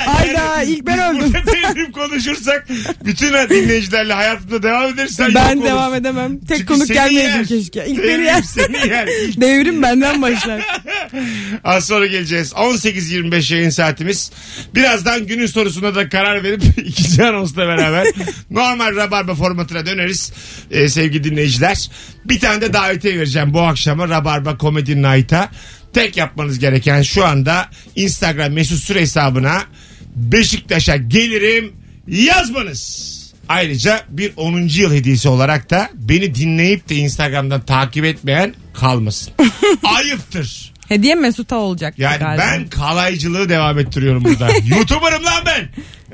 Speaker 3: Hayda ilk ben öldüm.
Speaker 2: Burada devrim konuşursak bütün dinleyicilerle hayatında devam edersen
Speaker 3: Ben devam edemem. Tek konuk gelmeyeydim keşke. İlk beni yer.
Speaker 2: seni yer. İlk
Speaker 3: <laughs> Devrim benden başlar.
Speaker 2: Az sonra geleceğiz. 18.25 yayın saatimiz. Birazdan günün sorusuna da karar verip <laughs> ikinci anonsla beraber normal rabarba formatına döneriz Ee, sevgili dinleyiciler. Bir tane de davetiye vereceğim bu akşama Rabarba Comedy Night'a. Tek yapmanız gereken şu anda Instagram mesut süre hesabına Beşiktaş'a gelirim yazmanız. Ayrıca bir 10. yıl hediyesi olarak da beni dinleyip de Instagram'dan takip etmeyen kalmasın. Ayıptır.
Speaker 3: Hediye Mesut'a olacak
Speaker 2: Yani
Speaker 3: galiba.
Speaker 2: ben kalaycılığı devam ettiriyorum burada.
Speaker 3: <laughs>
Speaker 2: YouTuber'ım lan ben.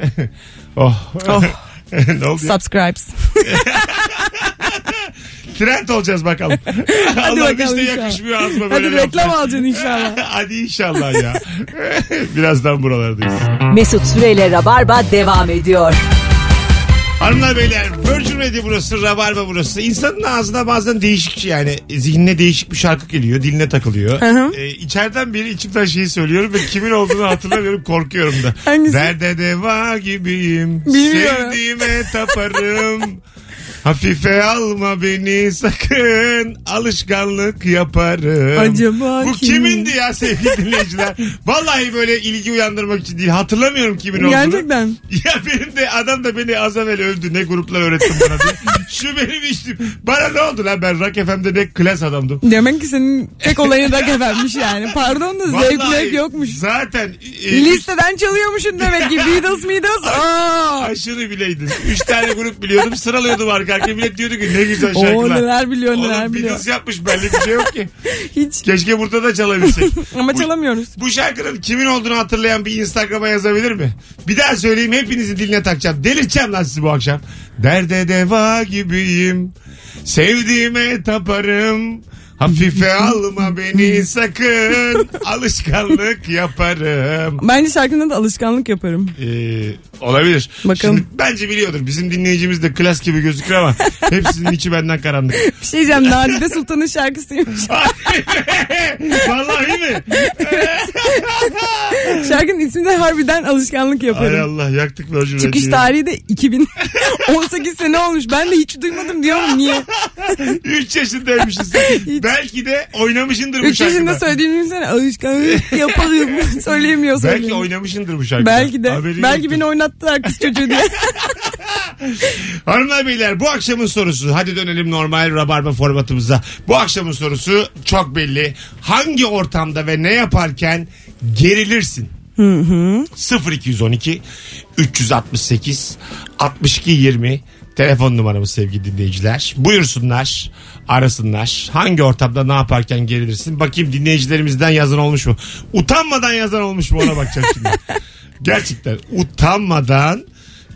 Speaker 2: <laughs> oh.
Speaker 3: Oh.
Speaker 2: <laughs> ne oldu ya?
Speaker 3: Subscribes.
Speaker 2: Trend olacağız
Speaker 3: <laughs>
Speaker 2: bakalım. Allah'ım hiç
Speaker 3: bakalım
Speaker 2: de
Speaker 3: inşallah.
Speaker 2: yakışmıyor ağzıma böyle
Speaker 3: Hadi
Speaker 2: <laughs>
Speaker 3: reklam
Speaker 2: laflar.
Speaker 3: alacaksın inşallah.
Speaker 2: Hadi inşallah ya. <laughs> Birazdan buralardayız.
Speaker 1: Mesut Süreyle Rabarba devam ediyor.
Speaker 2: Hanımlar beyler Virgin Radio burası, Rabarba burası. İnsanın ağzına bazen değişik şey yani zihnine değişik bir şarkı geliyor, diline takılıyor.
Speaker 3: hı.
Speaker 2: Ee, içeriden biri içimden şeyi söylüyorum ve kimin olduğunu hatırlamıyorum, korkuyorum da.
Speaker 3: Hangisi?
Speaker 2: Derde deva gibiyim,
Speaker 3: Bilmiyorum.
Speaker 2: sevdiğime taparım. Hafife alma beni sakın alışkanlık yaparım.
Speaker 3: Acaba
Speaker 2: Bu
Speaker 3: kim?
Speaker 2: kimindi ya sevgili dinleyiciler? Vallahi böyle ilgi uyandırmak için değil. Hatırlamıyorum kimin olduğunu.
Speaker 3: Gerçekten.
Speaker 2: Ya benim de adam da beni az evvel övdü. Ne gruplar öğrettin bana
Speaker 3: <laughs>
Speaker 2: diye. Şu benim işim. Bana ne oldu lan ben Rock FM'de ne klas adamdım.
Speaker 3: Demek ki senin tek olayı da gebermiş yani. Pardon da
Speaker 2: Vallahi
Speaker 3: zevkle yokmuş.
Speaker 2: Zaten e,
Speaker 3: Listeden çalıyormuşsun demek ki. Beatles Beatles. Aa.
Speaker 2: aşırı bileydin. Üç tane grup biliyordum. Sıralıyordum arka arkaya. Millet diyordu ki ne güzel
Speaker 3: Oo,
Speaker 2: şarkılar.
Speaker 3: neler biliyor, neler
Speaker 2: Oğlum,
Speaker 3: biliyor.
Speaker 2: Beatles yapmış belli bir şey yok ki.
Speaker 3: Hiç.
Speaker 2: Keşke burada da çalabilsek.
Speaker 3: <laughs> Ama
Speaker 2: Bu-
Speaker 3: çalamıyoruz.
Speaker 2: Bu şarkının kimin olduğunu hatırlayan bir Instagram'a yazabilir mi? Bir daha söyleyeyim hepinizin diline takacağım. Delirteceğim lan sizi bu akşam. Derde deva gibiyim. Sevdiğime taparım. Hafife alma beni sakın. Alışkanlık yaparım.
Speaker 3: Bence şarkının da alışkanlık yaparım.
Speaker 2: Ee, olabilir.
Speaker 3: Bakalım.
Speaker 2: Şimdi bence biliyordur. Bizim dinleyicimiz de klas gibi gözükür ama hepsinin içi benden
Speaker 3: <laughs>
Speaker 2: karanlık.
Speaker 3: Bir
Speaker 2: <laughs>
Speaker 3: şey diyeceğim Nadide Sultan'ın şarkısıymış.
Speaker 2: Vallahi mi?
Speaker 3: Şarkının ismi de harbiden alışkanlık
Speaker 2: Ay
Speaker 3: yaparım.
Speaker 2: Allah yaktık Virgin
Speaker 3: Çıkış
Speaker 2: Radio'yu.
Speaker 3: tarihi de <laughs> 2018 sene olmuş. Ben de hiç duymadım diyorum niye?
Speaker 2: 3
Speaker 3: <laughs>
Speaker 2: yaşındaymışız. Belki de oynamışındır bu
Speaker 3: 3 yaşında
Speaker 2: şarkıda.
Speaker 3: söylediğim sene
Speaker 2: <laughs>
Speaker 3: alışkanlık yaparım. Söyleyemiyor
Speaker 2: Belki
Speaker 3: söyleyemiyor.
Speaker 2: oynamışındır bu şarkıda.
Speaker 3: Belki de.
Speaker 2: Haberin
Speaker 3: Belki
Speaker 2: yoktur.
Speaker 3: beni oynattılar kız çocuğu diye.
Speaker 2: Hanımlar beyler bu akşamın sorusu hadi dönelim normal rabarba formatımıza. Bu akşamın sorusu çok belli. Hangi ortamda ve ne yaparken gerilirsin? 0212 368 62 20 telefon numaramız sevgili dinleyiciler. Buyursunlar, arasınlar. Hangi ortamda ne yaparken gerilirsin? Bakayım dinleyicilerimizden yazan olmuş mu? Utanmadan yazan olmuş mu ona bakacağım şimdi. Gerçekten utanmadan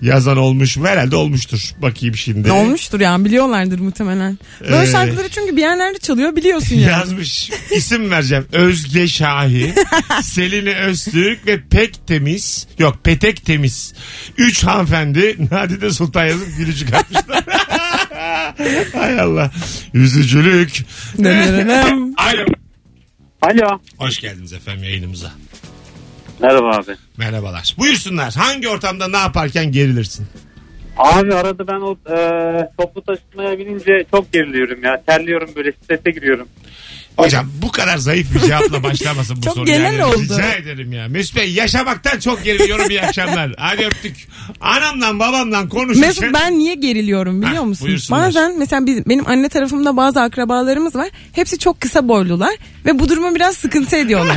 Speaker 2: yazan olmuş mu? Herhalde olmuştur. Bakayım şimdi.
Speaker 3: Ne olmuştur yani biliyorlardır muhtemelen. Böyle
Speaker 2: Ee,
Speaker 3: şarkıları çünkü bir yerlerde çalıyor
Speaker 2: <laughs>
Speaker 3: biliyorsun yani.
Speaker 2: Yazmış. İsim vereceğim. Özge Şahin, Selin Öztürk ve Pek Temiz. Yok Petek Temiz. Üç hanımefendi Nadide Sultan yazıp gülücük atmışlar. Hay Allah. Yüzücülük.
Speaker 3: Dönerim.
Speaker 2: Alo.
Speaker 5: Alo.
Speaker 2: Hoş geldiniz efendim yayınımıza.
Speaker 5: Merhaba abi.
Speaker 2: Merhabalar. Buyursunlar. Hangi ortamda ne yaparken gerilirsin?
Speaker 5: Abi arada ben o e, toplu taşımaya binince çok geriliyorum ya. Terliyorum böyle strese giriyorum.
Speaker 2: Hocam bu kadar zayıf bir cevapla başlamasın bu
Speaker 3: Çok
Speaker 2: soru.
Speaker 3: genel
Speaker 2: yani.
Speaker 3: oldu.
Speaker 2: Rica ederim ya. Mesut Bey yaşamaktan çok geriliyorum iyi akşamlar. Hadi öptük. Anamla babamla konuşurken.
Speaker 3: Mesut ben niye geriliyorum biliyor
Speaker 2: Hah,
Speaker 3: musun?
Speaker 2: buyursunlar.
Speaker 3: Bazen mesela bizim, benim anne tarafımda bazı akrabalarımız var. Hepsi çok kısa boylular ve bu duruma biraz
Speaker 2: <laughs>
Speaker 3: sıkıntı ediyorlar.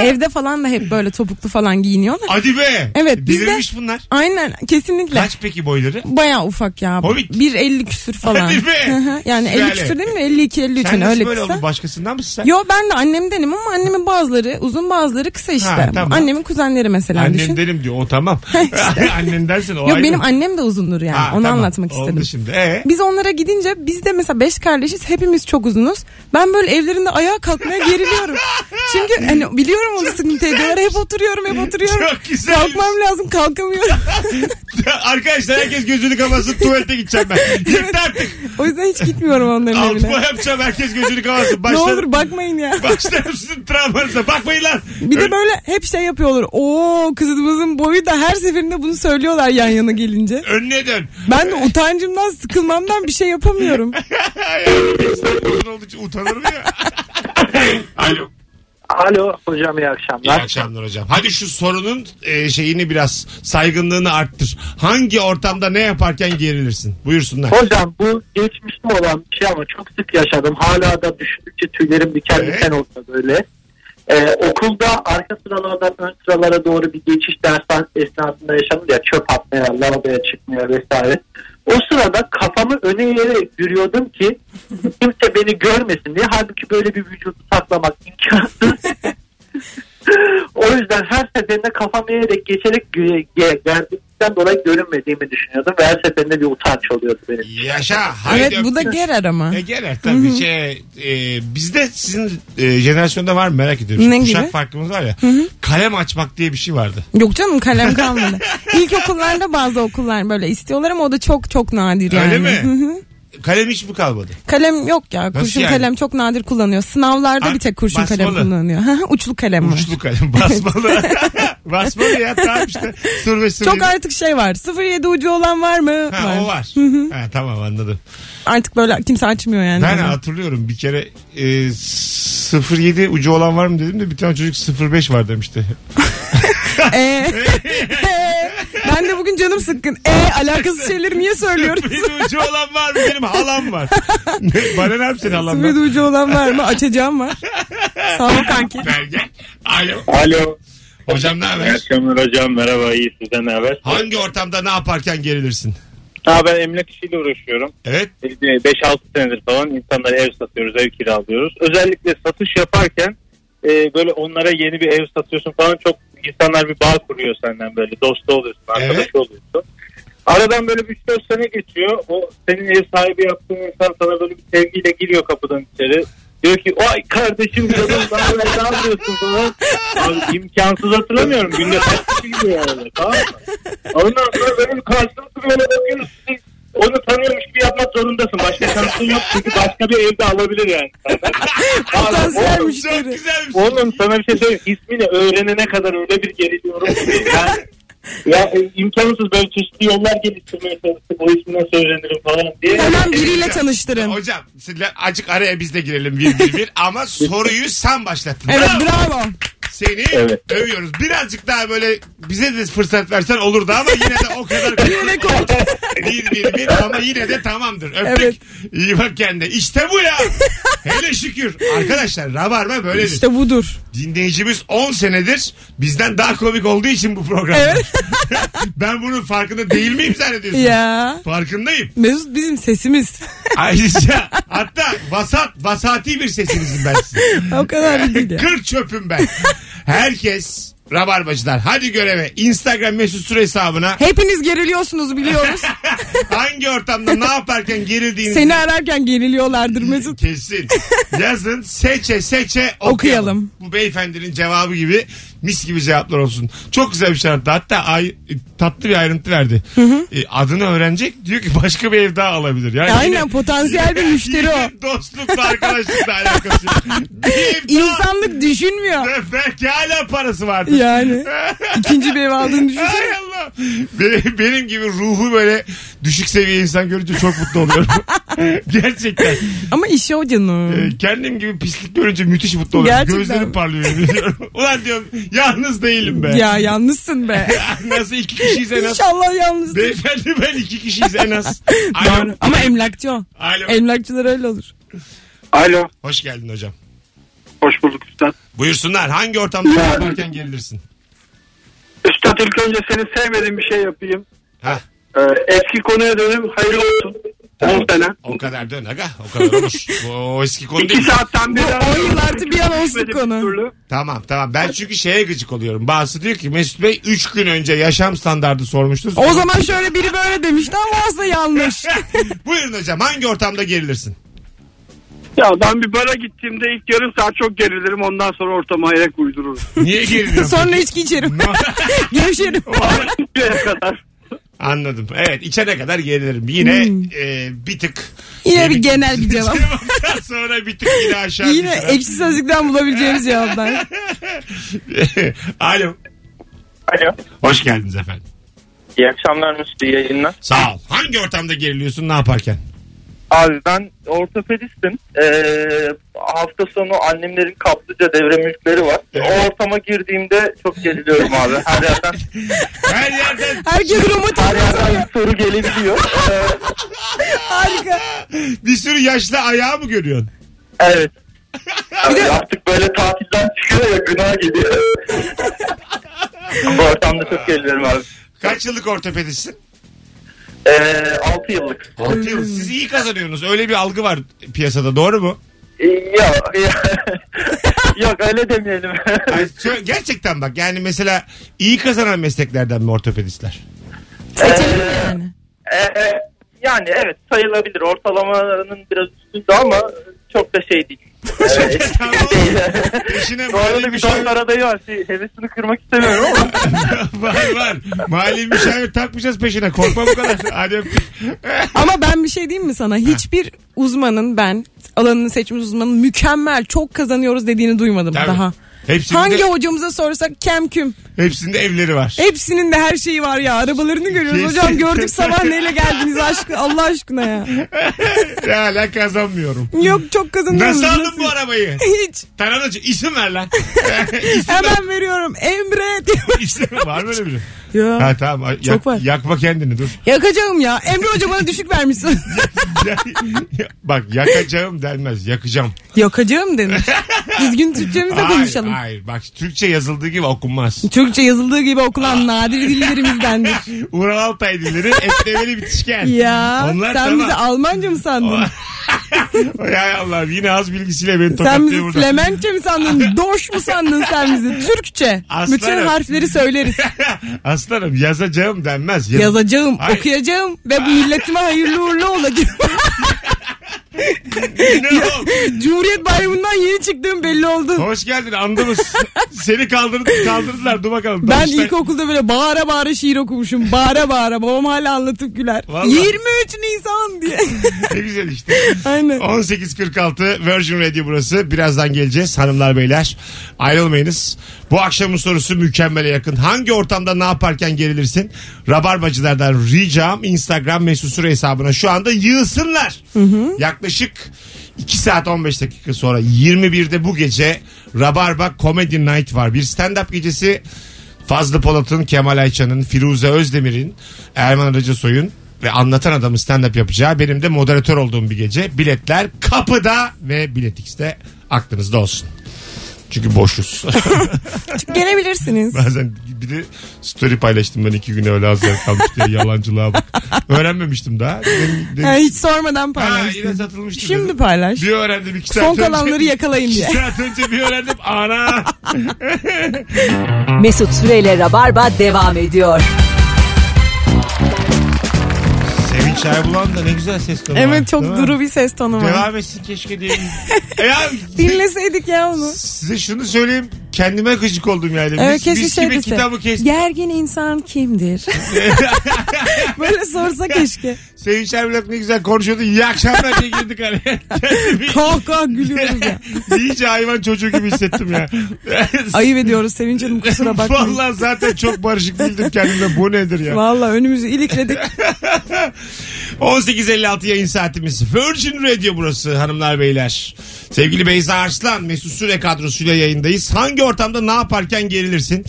Speaker 3: Evde falan da hep böyle topuklu falan giyiniyorlar.
Speaker 2: Hadi be.
Speaker 3: Evet biz de-
Speaker 2: Delirmiş bunlar.
Speaker 3: Aynen kesinlikle.
Speaker 2: Kaç peki boyları?
Speaker 3: Bayağı ufak ya.
Speaker 2: Hobbit.
Speaker 3: 1.50
Speaker 2: <laughs>
Speaker 3: küsür falan.
Speaker 2: Hadi be.
Speaker 3: Hı hı. yani 50
Speaker 2: Şöyle.
Speaker 3: küsür değil mi? 52 53
Speaker 2: Sen
Speaker 3: hani
Speaker 2: nasıl
Speaker 3: öyle
Speaker 2: böyle
Speaker 3: kısa.
Speaker 2: oldun? Başkasından mısın sen?
Speaker 3: Yo ben de annemdenim ama annemin bazıları uzun bazıları kısa işte.
Speaker 2: Ha, tamam.
Speaker 3: Annemin kuzenleri mesela
Speaker 2: Annen
Speaker 3: düşün.
Speaker 2: derim diyor. O
Speaker 3: <laughs>
Speaker 2: tamam. <laughs> Annen dersin o
Speaker 3: Yok
Speaker 2: ayrı.
Speaker 3: benim annem de uzundur yani.
Speaker 2: Ha,
Speaker 3: Onu
Speaker 2: tamam.
Speaker 3: anlatmak
Speaker 2: Oldu
Speaker 3: istedim.
Speaker 2: şimdi. Ee?
Speaker 3: Biz onlara gidince biz de mesela beş kardeşiz hepimiz çok uzunuz. Ben böyle evlerinde ayağa kalkmaya
Speaker 2: <laughs>
Speaker 3: geriliyorum. Çünkü hani biliyorum onu sıkıntı ediyorlar. Hep oturuyorum hep oturuyorum.
Speaker 2: Çok güzelmiş.
Speaker 3: Kalkmam lazım kalkamıyorum.
Speaker 2: <laughs> Arkadaşlar herkes gözünü kapatsın tuvalete gideceğim
Speaker 3: <laughs>
Speaker 2: ben. Yeter artık.
Speaker 3: o yüzden hiç gitmiyorum onların
Speaker 2: Altıma
Speaker 3: evine.
Speaker 2: yapacağım herkes gözünü kapatsın.
Speaker 3: Ne
Speaker 2: Başlar,
Speaker 3: olur bakmayın ya.
Speaker 2: başlarım sizin travmanıza. Bakmayın lan.
Speaker 3: Bir de böyle hep şey yapıyorlar. Oo kızımızın boyu da her seferinde bunu söylüyorlar yan yana gelince.
Speaker 2: Önüne dön.
Speaker 3: Ben de utancımdan sıkılmamdan bir şey yapamıyorum.
Speaker 2: Yani insan uzun olduğu için utanır mı ya? <laughs> Alo.
Speaker 5: Alo hocam iyi
Speaker 2: İyi
Speaker 5: akşamlar.
Speaker 2: akşamlar hocam. Hadi şu sorunun e, şeyini biraz saygınlığını arttır. Hangi ortamda ne yaparken gerilirsin? Buyursunlar.
Speaker 5: Hocam bu geçmişte olan bir şey ama çok sık yaşadım. Hala da düşündükçe tüylerim diken
Speaker 2: Evet.
Speaker 5: diken olsa böyle. Ee, okulda arka sıralardan ön sıralara doğru bir geçiş dersen esnasında yaşanır ya çöp atmaya, lavaboya çıkmaya vesaire. O sırada kafamı öne eğerek yürüyordum ki kimse beni görmesin diye. Halbuki böyle bir vücudu saklamak imkansız.
Speaker 10: <laughs>
Speaker 5: o yüzden her seferinde kafamı eğerek geçerek gö- ge- geldim
Speaker 10: eksiklikten dolayı görünmediğimi düşünüyordum ve her seferinde bir utanç oluyordu benim.
Speaker 2: Yaşa. Haydi
Speaker 3: Evet bu da
Speaker 2: öptük.
Speaker 3: gerer ama.
Speaker 2: E gelir tabii şey e, bizde sizin e, jenerasyonda var mı merak ediyorum.
Speaker 3: Ne
Speaker 2: Şu Kuşak
Speaker 3: gibi?
Speaker 2: farkımız var ya. Kalem açmak diye bir şey vardı.
Speaker 3: Yok canım
Speaker 2: <laughs>
Speaker 3: kalem kalmadı. İlkokullarda bazı okullar böyle istiyorlar ama o da çok çok nadir yani.
Speaker 2: Öyle mi?
Speaker 3: Hı hı.
Speaker 2: Kalem hiç mi kalmadı?
Speaker 3: Kalem yok ya. kurşun
Speaker 2: yani?
Speaker 3: kalem çok nadir kullanıyor. Sınavlarda
Speaker 2: Ha,
Speaker 3: bir tek kurşun
Speaker 2: basmalı.
Speaker 3: kalem kullanıyor. <laughs> Ha, Uçlu kalem var.
Speaker 2: Uçlu kalem
Speaker 3: <laughs>
Speaker 2: basmalı. basmalı ya tamam işte. 05
Speaker 3: Çok artık şey var. 07 ucu olan var mı?
Speaker 2: Ha o var. ha, tamam anladım.
Speaker 3: Artık böyle kimse açmıyor yani.
Speaker 2: Ben
Speaker 3: onu.
Speaker 2: hatırlıyorum bir kere e, 07 ucu olan var mı dedim de bir tane çocuk 05 var
Speaker 3: <laughs>
Speaker 2: demişti. <laughs>
Speaker 3: Ee, ee, ben de bugün canım sıkkın. E alakasız şeyleri
Speaker 2: <laughs>
Speaker 3: niye söylüyorum?
Speaker 2: Benim ucu olan var mı? Benim halam var. Ne- Bana ne yapsın
Speaker 3: Sıfır
Speaker 2: halamdan?
Speaker 3: ucu olan var mı? Açacağım var. Sağ ol kanki.
Speaker 2: Bergen. Alo.
Speaker 5: Alo.
Speaker 2: Hocam ne haber?
Speaker 5: akşamlar hocam. Merhaba. iyi sizden ne haber?
Speaker 2: Hangi ortamda ne yaparken gerilirsin?
Speaker 5: Ha, ben emlak işiyle uğraşıyorum.
Speaker 2: Evet.
Speaker 5: 5-6 e, senedir falan insanlara ev satıyoruz, ev kiralıyoruz. Özellikle satış yaparken e, böyle onlara yeni bir ev satıyorsun falan çok insanlar bir bağ kuruyor senden böyle. Dostu oluyorsun, arkadaş
Speaker 2: Evet.
Speaker 5: oluyorsun. Aradan böyle 3-4 sene geçiyor. O senin ev sahibi yaptığın insan sana böyle bir sevgiyle giriyor kapıdan içeri. Diyor ki ay kardeşim canım ne haber, ne yapıyorsun falan. Abi imkansız hatırlamıyorum. Günde kaç kişi gidiyor arada tamam mı? Ondan sonra böyle bir karşılıklı böyle bakıyorsun. Siz Onu tanıyormuş gibi yapmak zorundasın. Başka şansın yok çünkü başka bir evde alabilir yani.
Speaker 3: Potansiyel
Speaker 2: Oğlum, Çok
Speaker 3: müşteri.
Speaker 2: güzelmiş.
Speaker 5: Oğlum sana bir şey söyleyeyim. İsmini öğrenene kadar öyle bir geriliyorum ki. Yani, ya e, imkansız böyle çeşitli yollar geliştirmeye çalıştım. O ismi nasıl öğrenirim falan diye.
Speaker 3: Hemen biriyle tanıştırın.
Speaker 2: Hocam sizler acık araya biz de girelim bir bir bir ama soruyu sen başlattın.
Speaker 3: Evet
Speaker 2: Bravo.
Speaker 3: bravo.
Speaker 2: Seni
Speaker 5: Evet.
Speaker 2: övüyoruz. Birazcık daha böyle bize de fırsat versen olurdu ama yine de o kadar.
Speaker 3: <laughs>
Speaker 2: <laughs>
Speaker 3: Yine koç.
Speaker 2: bir bir bir ama yine de tamamdır. Öptük.
Speaker 3: Evet.
Speaker 2: İyi bak kendine. İşte bu ya. Hele şükür. Arkadaşlar rabarba böyledir.
Speaker 3: İşte budur.
Speaker 2: Dinleyicimiz 10 senedir bizden daha komik olduğu için bu program.
Speaker 3: Evet.
Speaker 2: <laughs> ben bunun farkında değil miyim zannediyorsunuz?
Speaker 3: Ya.
Speaker 2: Farkındayım.
Speaker 3: Mesut bizim sesimiz. <laughs>
Speaker 2: Ayrıca hatta vasat, vasati bir sesinizim ben size.
Speaker 3: o kadar
Speaker 2: <laughs>
Speaker 3: da değil ya.
Speaker 2: Kır çöpüm ben. Herkes rabarbacılar. Hadi göreve. Instagram mesut süre hesabına
Speaker 3: Hepiniz geriliyorsunuz biliyoruz.
Speaker 2: hangi ortamda ne yaparken gerildiğinizi
Speaker 3: Seni ararken geriliyorlardır Mesut.
Speaker 2: kesin yazın seçe seçe okuyalım.
Speaker 3: Okuyalım.
Speaker 2: Bu beyefendinin cevabı gibi mis gibi cevaplar olsun. Çok güzel bir şey anlattı. Hatta ay, tatlı bir ayrıntı verdi. E, adını öğrenecek diyor ki başka bir ev daha alabilir. Yani
Speaker 3: Ya Aynen potansiyel bir müşteri o.
Speaker 2: Yine dostlukla arkadaşlıkla alakası yok. Bir ev daha
Speaker 3: İnsanlık düşünmüyor.
Speaker 2: belki hala parası vardır.
Speaker 3: Yani. İkinci bir ev aldığını düşünsene.
Speaker 2: Ay Allah. Benim, benim gibi ruhu böyle düşük seviye insan görünce çok mutlu
Speaker 3: <laughs>
Speaker 2: oluyorum. Gerçekten.
Speaker 3: Ama işi o canım.
Speaker 2: Ee, Kendim gibi pislik görünce müthiş mutlu oluyorum.
Speaker 3: Gerçekten.
Speaker 2: Gözlerim parlıyor. yemin
Speaker 3: <laughs>
Speaker 2: ediyorum. Ulan diyorum yalnız değilim be.
Speaker 3: Ya yalnızsın be.
Speaker 2: Nasıl iki kişiyiz en az.
Speaker 3: İnşallah yalnız.
Speaker 2: Beyefendi ben iki kişiyiz en
Speaker 3: <laughs>
Speaker 2: az. Alo.
Speaker 3: Doğru. Ama emlakçı o.
Speaker 2: Alo.
Speaker 3: Emlakçılar öyle olur.
Speaker 8: Alo.
Speaker 2: Hoş geldin hocam.
Speaker 8: Hoş bulduk üstad.
Speaker 2: Buyursunlar. Hangi ortamda
Speaker 3: <laughs>
Speaker 2: yaparken gerilirsin?
Speaker 8: Üstad ilk önce senin sevmediğin bir şey yapayım.
Speaker 2: Hah.
Speaker 8: Ee, eski konuya dönüm hayırlı olsun. 10 sene.
Speaker 2: O kadar dön aga. O kadar
Speaker 3: <laughs>
Speaker 2: olur. o eski konu
Speaker 8: 2
Speaker 2: değil.
Speaker 8: saatten beri
Speaker 3: Bu on yıl artı bir an olsun konu.
Speaker 2: Tamam tamam. Ben çünkü şeye gıcık oluyorum. Bazısı diyor ki Mesut Bey 3 gün önce yaşam standardı sormuştunuz.
Speaker 3: O zaman şöyle biri böyle demişti ama aslında yanlış.
Speaker 2: <laughs> Buyurun hocam hangi ortamda gerilirsin?
Speaker 8: Ya ben bir bara gittiğimde ilk yarım saat çok gerilirim. Ondan sonra ortama ayak uydururum.
Speaker 3: <laughs>
Speaker 2: Niye geriliyorsun?
Speaker 3: Sonra içki içerim. Gevşerim.
Speaker 8: Şimdiye kadar.
Speaker 2: <laughs> Anladım. Evet içene kadar gerilirim. Yine e, bir tık.
Speaker 3: Hmm. Yine bir genel bir cevap.
Speaker 2: <laughs> Cevaptan sonra bir tık yine aşağı
Speaker 3: Yine
Speaker 2: Yine
Speaker 3: ekşi sözlükten bulabileceğimiz cevaplar.
Speaker 2: <laughs> Alo.
Speaker 5: Alo.
Speaker 2: Hoş geldiniz efendim.
Speaker 5: İyi akşamlar Mesut. iyi yayınlar.
Speaker 2: Sağ ol. Hangi ortamda geriliyorsun ne yaparken?
Speaker 5: Abi ben ortopedistim. Ee, hafta sonu annemlerin kaplıca devre mülkleri var. O ortama girdiğimde çok geriliyorum abi. Her yerden,
Speaker 2: Her yerden
Speaker 3: Herkes romantik
Speaker 5: her yerden bir soru gelebiliyor. Ee,
Speaker 3: harika.
Speaker 2: bir sürü yaşlı ayağı mı görüyorsun?
Speaker 5: evet. Abi artık böyle tatilden çıkıyor ya günah gibi. Bu ortamda çok geriliyorum abi.
Speaker 2: Kaç yıllık ortopedistsin?
Speaker 5: Ee, 6 yıllık.
Speaker 2: 6 yıl. Siz iyi kazanıyorsunuz. Öyle bir algı var piyasada doğru mu?
Speaker 5: Yok. <laughs> Yok öyle demeyelim.
Speaker 2: Ay, şö- gerçekten bak yani mesela iyi kazanan mesleklerden mi ortopedistler?
Speaker 3: Seçelim mi
Speaker 11: Ee,
Speaker 3: yani?
Speaker 11: Ee, yani evet sayılabilir. Ortalamanın biraz üstünde ama çok da şey değil. Ee,
Speaker 2: <laughs> Tamam. Peşine
Speaker 11: Bu arada
Speaker 2: mali
Speaker 11: bir dört
Speaker 2: müşavir
Speaker 11: aradayı var. Şey, hevesini kırmak istemiyorum ama.
Speaker 2: <laughs> var var. Mali müşavir takmayacağız peşine. Korkma bu kadar. Hadi öptük.
Speaker 3: Ama ben bir şey diyeyim mi sana? Hiçbir uzmanın ben alanını seçmiş uzmanın mükemmel çok kazanıyoruz dediğini duymadım
Speaker 2: Tabii.
Speaker 3: daha.
Speaker 2: Hepsinde,
Speaker 3: Hangi hocamıza sorsak kem küm.
Speaker 2: hepsinde evleri var.
Speaker 3: Hepsinin de her şeyi var ya. Arabalarını görüyoruz.
Speaker 2: Kesin.
Speaker 3: Hocam
Speaker 2: <laughs>
Speaker 3: gördük sabah neyle geldiniz aşkı Allah aşkına ya.
Speaker 2: <laughs> Ya hala kazanmıyorum.
Speaker 3: Yok çok kazanıyoruz.
Speaker 2: Nasıl aldın bu arabayı?
Speaker 3: <laughs> Hiç.
Speaker 2: Taranacı isim ver lan. <laughs>
Speaker 3: Hemen veriyorum. Emre.
Speaker 2: isim var böyle biri. Ha
Speaker 3: ya.
Speaker 2: tamam. Yak,
Speaker 3: Çok var.
Speaker 2: Yakma kendini dur. <laughs>
Speaker 3: Yakacağım ya. Emre hoca bana düşük vermişsin.
Speaker 2: Bak yakacağım denmez. Yakacağım.
Speaker 3: Yakacağım denir. Düzgün Türkçemizle konuşalım.
Speaker 2: Hayır, hayır. Bak Türkçe yazıldığı gibi okunmaz.
Speaker 3: Türkçe yazıldığı gibi okunan nadir dillerimizdendir.
Speaker 2: Ural Altay dilleri eklemeli bitişken.
Speaker 3: <laughs> Ya
Speaker 2: Onlar
Speaker 3: sen
Speaker 2: tamam.
Speaker 3: bizi Almanca
Speaker 2: <laughs>
Speaker 3: mı sandın?
Speaker 2: ya Allah yine az bilgisiyle beni
Speaker 3: sen
Speaker 2: tokatlıyor
Speaker 3: bizi
Speaker 2: burada.
Speaker 3: Flemenkçe mi sandın? Doş mu sandın sen bizi? Türkçe.
Speaker 2: Aslanım.
Speaker 3: Bütün
Speaker 2: <laughs>
Speaker 3: harfleri söyleriz.
Speaker 2: <laughs> Aslanım yazacağım denmez. Yaz- <laughs>
Speaker 3: Yazacağım,
Speaker 2: Hayır.
Speaker 3: okuyacağım ve bu milletime hayırlı uğurlu olacağım.
Speaker 2: İnanamam.
Speaker 3: <laughs> Cumhuriyet Bayramı'ndan yeni çıktığım belli oldu.
Speaker 2: Hoş geldin
Speaker 3: <laughs>
Speaker 2: andımız. Seni kaldırdık kaldırdılar dur bakalım.
Speaker 3: Ben
Speaker 2: Danıştay-
Speaker 3: ilkokulda böyle bağıra bağıra şiir okumuşum. Bağıra bağıra. Babam hala anlatıp güler.
Speaker 2: Vallahi.
Speaker 3: 23 Nisan diye. <laughs>
Speaker 2: Ne güzel işte.
Speaker 3: Aynen.
Speaker 2: Oh. 18.46 Virgin Radio burası. Birazdan geleceğiz hanımlar beyler. Ayrılmayınız. Bu akşamın sorusu mükemmele yakın. Hangi ortamda ne yaparken gerilirsin? Rabarbacılardan ricam Instagram mesut süre hesabına şu anda yığsınlar. Yaklaşık 2 saat 15 dakika sonra 21'de bu gece Rabarba Comedy Night var. Bir stand-up gecesi Fazlı Polat'ın, Kemal Ayça'nın, Firuze Özdemir'in, Erman Arıcısoy'un ve anlatan adamın stand-up yapacağı benim de moderatör olduğum bir gece. Biletler kapıda ve biletikste aklınızda olsun. Çünkü boşuz. <laughs>
Speaker 3: Gelebilirsiniz.
Speaker 2: Bazen bir de story paylaştım ben iki güne öyle az yer kalmış diye yalancılığa bak. Öğrenmemiştim daha. Demin- demin-
Speaker 3: Ha, hiç sormadan
Speaker 2: Ha, yine
Speaker 3: paylaştın.
Speaker 2: satılmıştı.
Speaker 3: Şimdi
Speaker 2: dedim.
Speaker 3: paylaş.
Speaker 2: Bir öğrendim iki saat
Speaker 3: Son
Speaker 2: önce.
Speaker 3: kalanları yakalayın diye.
Speaker 2: İki saat önce bir öğrendim. Ana.
Speaker 1: Mesut Süreyle Rabarba devam ediyor.
Speaker 2: Sevinç Erbulan da ne güzel ses tonu var,
Speaker 3: Evet çok
Speaker 2: değil mi?
Speaker 3: duru bir ses tonu var.
Speaker 2: Devam etsin keşke diye.
Speaker 3: <laughs>
Speaker 2: e ya,
Speaker 3: Dinleseydik ya onu.
Speaker 2: size şunu söyleyeyim. Kendime gıcık oldum yani.
Speaker 3: Evet
Speaker 2: biz, biz
Speaker 3: şey
Speaker 2: gibi
Speaker 3: dese,
Speaker 2: kitabı kestik.
Speaker 3: Gergin insan
Speaker 2: <laughs>
Speaker 3: kimdir? Böyle sorsa keşke.
Speaker 2: Sevinç Erbilok ne güzel konuşuyordu. İyi akşamlar diye girdik
Speaker 3: <laughs>
Speaker 2: araya. Kendimi
Speaker 3: Kah kah gülüyoruz
Speaker 2: <laughs>
Speaker 3: ya.
Speaker 2: iyice hayvan çocuğu gibi hissettim ya.
Speaker 3: Ayıp ediyoruz Sevinç
Speaker 2: <laughs>
Speaker 3: Hanım kusura bakmayın.
Speaker 2: Vallahi zaten çok barışık değildim kendimle. Bu nedir ya?
Speaker 3: Vallahi
Speaker 2: <laughs>
Speaker 3: önümüzü ilikledik.
Speaker 2: 18.56 yayın saatimiz. Virgin Radio burası hanımlar beyler. Sevgili Beyza Arslan, Mesut Süre kadrosuyla yayındayız. Hangi ortamda ne yaparken gerilirsin?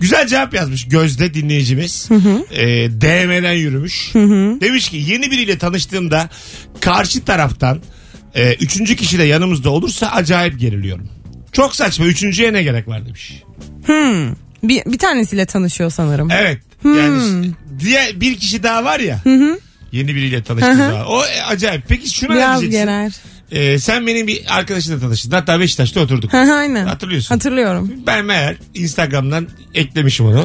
Speaker 2: Güzel cevap yazmış Gözde dinleyicimiz. Ee, DM'den yürümüş. Demiş ki yeni biriyle tanıştığımda karşı taraftan e, üçüncü kişi de yanımızda olursa acayip geriliyorum. Çok saçma üçüncüye ne gerek var demiş.
Speaker 3: Bir, bir tanesiyle tanışıyor sanırım.
Speaker 2: Hmm. Evet. Yani işte diğer bir kişi daha var ya. Yeni biriyle tanıştığımız daha. O e, acayip. Peki şuna ne
Speaker 3: Biraz
Speaker 2: diyeceksin?
Speaker 3: gerer.
Speaker 2: Ee, sen benim bir arkadaşımla tanıştın. Hatta Beşiktaş'ta oturduk.
Speaker 3: Hı hı, Aynen.
Speaker 2: Hatırlıyorsun.
Speaker 3: Hatırlıyorum.
Speaker 2: ben meğer Instagram'dan eklemişim onu.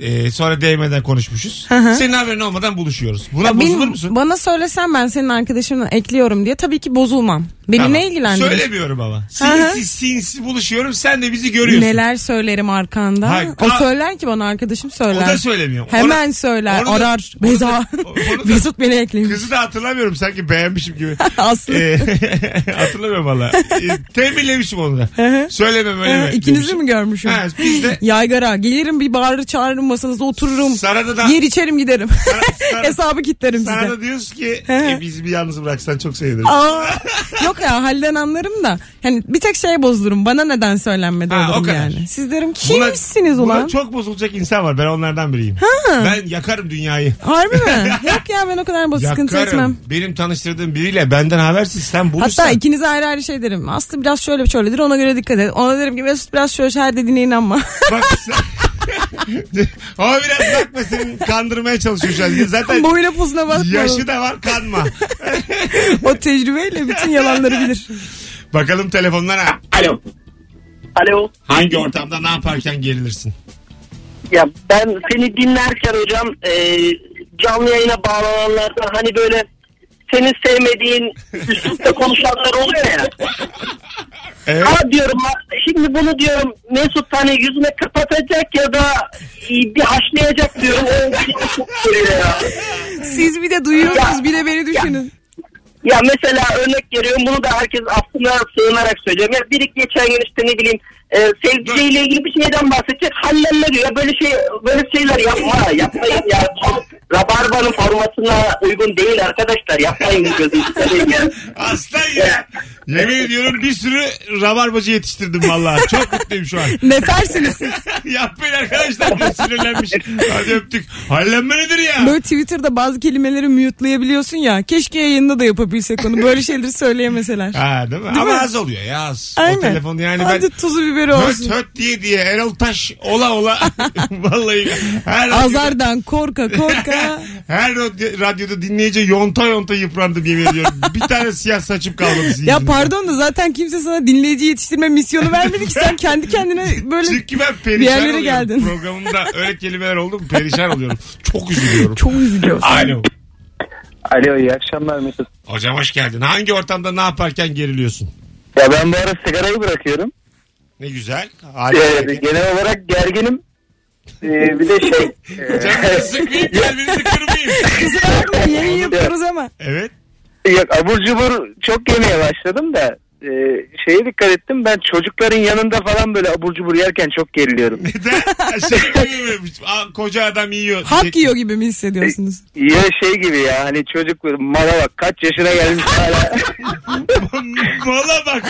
Speaker 2: Ee, sonra DM'den konuşmuşuz. Senin haberin olmadan buluşuyoruz. Buna
Speaker 3: Ya
Speaker 2: bozulur
Speaker 3: benim-
Speaker 2: musun?
Speaker 3: Bana söylesen ben senin arkadaşımla ekliyorum diye tabii ki bozulmam. Beni
Speaker 2: Tamam.
Speaker 3: ne ilgilendirir?
Speaker 2: Söylemiyorum ama.
Speaker 3: hı.
Speaker 2: Sinsi sinsi buluşuyorum sen de bizi görüyorsun.
Speaker 3: Neler söylerim arkanda?
Speaker 2: Hayır,
Speaker 3: o
Speaker 2: ka-
Speaker 3: söyler ki bana arkadaşım
Speaker 2: O
Speaker 3: söyler.
Speaker 2: da söylemiyor.
Speaker 3: Hemen
Speaker 2: Ona-
Speaker 3: söyler,
Speaker 2: onu da-
Speaker 3: arar.
Speaker 2: onu da-
Speaker 3: Beza. <laughs>
Speaker 2: onu da-
Speaker 3: Mesut beni eklemiş.
Speaker 2: Kızı da hatırlamıyorum sanki beğenmişim
Speaker 3: <laughs>
Speaker 2: gibi.
Speaker 3: Aslı.
Speaker 2: Ee, <laughs> hatırlamıyorum valla. Ee, tembihlemişim onu da. Söylemem öyle
Speaker 3: Ha,
Speaker 2: mi?
Speaker 3: İkinizi
Speaker 2: demişim.
Speaker 3: mi görmüşüm?
Speaker 2: Ha, biz de
Speaker 3: <laughs> Yaygara gelirim bir bağırır çağırırım masanıza otururum.
Speaker 2: Sarada da-
Speaker 3: Yer içerim giderim. <laughs>
Speaker 2: sana-
Speaker 3: Hesabı kitlerim size.
Speaker 2: sana <laughs> da diyoruz ki e, bizi bir yalnız bıraksan çok sevinirim.
Speaker 3: Aa, yok ya halden anlarım da. Hani bir tek şey bozdurum. Bana neden söylenmedi
Speaker 2: Ha, o
Speaker 3: olurum
Speaker 2: kadar.
Speaker 3: yani. Siz derim
Speaker 2: Buna-
Speaker 3: kimsiniz
Speaker 2: buna
Speaker 3: ulan?
Speaker 2: çok bozulacak insan var. Ben onlardan biriyim. Ben yakarım dünyayı. <laughs>
Speaker 3: Harbi mi? yok ya ben o kadar bu sıkıntı etmem.
Speaker 2: Yakarım. Benim tanıştırdığım biriyle benden habersiz sen bulursan.
Speaker 3: Hatta ikinize ayrı ayrı şey derim. Aslı biraz şöyle şöyledir ona göre dikkat et. Ona derim ki Mesut biraz şöyle her dediğine inanma. <laughs>
Speaker 2: Bak sen... <laughs> o biraz bakma seni kandırmaya çalışıyor şu an. Zaten
Speaker 3: Boyuna pozuna bakma.
Speaker 2: yaşı da var kanma. <laughs>
Speaker 3: O tecrübeyle bütün yalanları bilir.
Speaker 2: Bakalım telefonlara. Alo.
Speaker 11: Alo.
Speaker 2: Hangi ortamda ne yaparken gerilirsin?
Speaker 11: Ya ben seni dinlerken hocam e,
Speaker 5: canlı yayına bağlananlardan hani böyle senin sevmediğin üstlükte konuşanlar oluyor ya.
Speaker 2: Evet.
Speaker 5: Ama diyorum ha, şimdi bunu diyorum Mesut hani yüzüne kapatacak ya da e, bir haşlayacak diyorum. O beni çok geriyor ya.
Speaker 3: Siz bir de duyuyorsunuz bir de beni düşünün.
Speaker 5: Ya mesela örnek veriyorum bunu da herkes aklına sığınarak söylüyorum. Ya biri geçen gün işte ne bileyim e, sevgiliyle ilgili bir şeyden bahsedecek. Hallenme diyor. Ya Böyle şey böyle şeyler yapma. Yapmayın ya. Rabarbanın formatına uygun değil arkadaşlar. Yapmayın gözünü seveyim ya.
Speaker 2: Aslan ya. Yemin ediyorum bir sürü rabarbacı yetiştirdim vallahi. Çok mutluyum şu an. <laughs>
Speaker 3: Nefersiniz siz.
Speaker 2: Yapmayın arkadaşlar. diye Sinirlenmiş. Hadi öptük. Hallenme nedir ya?
Speaker 3: Böyle Twitter'da bazı kelimeleri mute'layabiliyorsun ya. Keşke yayında da yapabilsek onu. Böyle şeyleri söyleyemeseler.
Speaker 2: Ha, değil mi? Ama
Speaker 3: mi?
Speaker 2: az oluyor ya az. O
Speaker 3: Aynen.
Speaker 2: telefon yani ben
Speaker 3: Hadi tuzu biberi
Speaker 2: höt
Speaker 3: olsun.
Speaker 2: höt diye diye Erol Taş ola
Speaker 3: <laughs>
Speaker 2: ola vallahi her radyoda,
Speaker 3: Azardan korka korka.
Speaker 2: her radyo- radyoda dinleyince yonta yonta yıprandım yemin ediyorum. Bir tane siyah saçım kalmadı. sizin
Speaker 3: ya
Speaker 2: yüzünüzden.
Speaker 3: pardon da zaten kimse sana dinleyici yetiştirme misyonu vermedi ki sen kendi kendine böyle
Speaker 2: Çünkü ben perişan
Speaker 3: yerlere
Speaker 2: oluyorum.
Speaker 3: geldin.
Speaker 2: Programımda öyle kelimeler oldu mu perişan oluyorum. Çok üzülüyorum.
Speaker 3: çok üzülüyorsun.
Speaker 2: Alo.
Speaker 9: Alo iyi akşamlar Mesut.
Speaker 2: Hocam hoş geldin. Hangi ortamda ne yaparken geriliyorsun?
Speaker 9: Ya ben bu ara sigarayı bırakıyorum.
Speaker 2: Ne güzel.
Speaker 9: Ee,
Speaker 2: Harika.
Speaker 9: genel olarak gerginim. Ee, bir de şey.
Speaker 2: Canınızı sıkmayayım kalbinizi kırmayayım.
Speaker 9: <laughs>
Speaker 3: Kusura bakma yayın yapıyoruz ama.
Speaker 2: Evet.
Speaker 9: Yok abur cubur çok yemeye başladım da e, şeye dikkat ettim ben çocukların yanında falan böyle abur cubur yerken çok geriliyorum.
Speaker 3: <laughs>
Speaker 2: Neden? Şey gibi mi? Aa, Koca adam yiyor.
Speaker 3: Hak
Speaker 2: Şey-
Speaker 3: yiyor gibi mi hissediyorsunuz?
Speaker 9: Ya şey gibi ya hani çocuk böyle mala bak kaç yaşına
Speaker 11: <laughs>
Speaker 9: gelmiş hala.
Speaker 2: <laughs> Mola bak.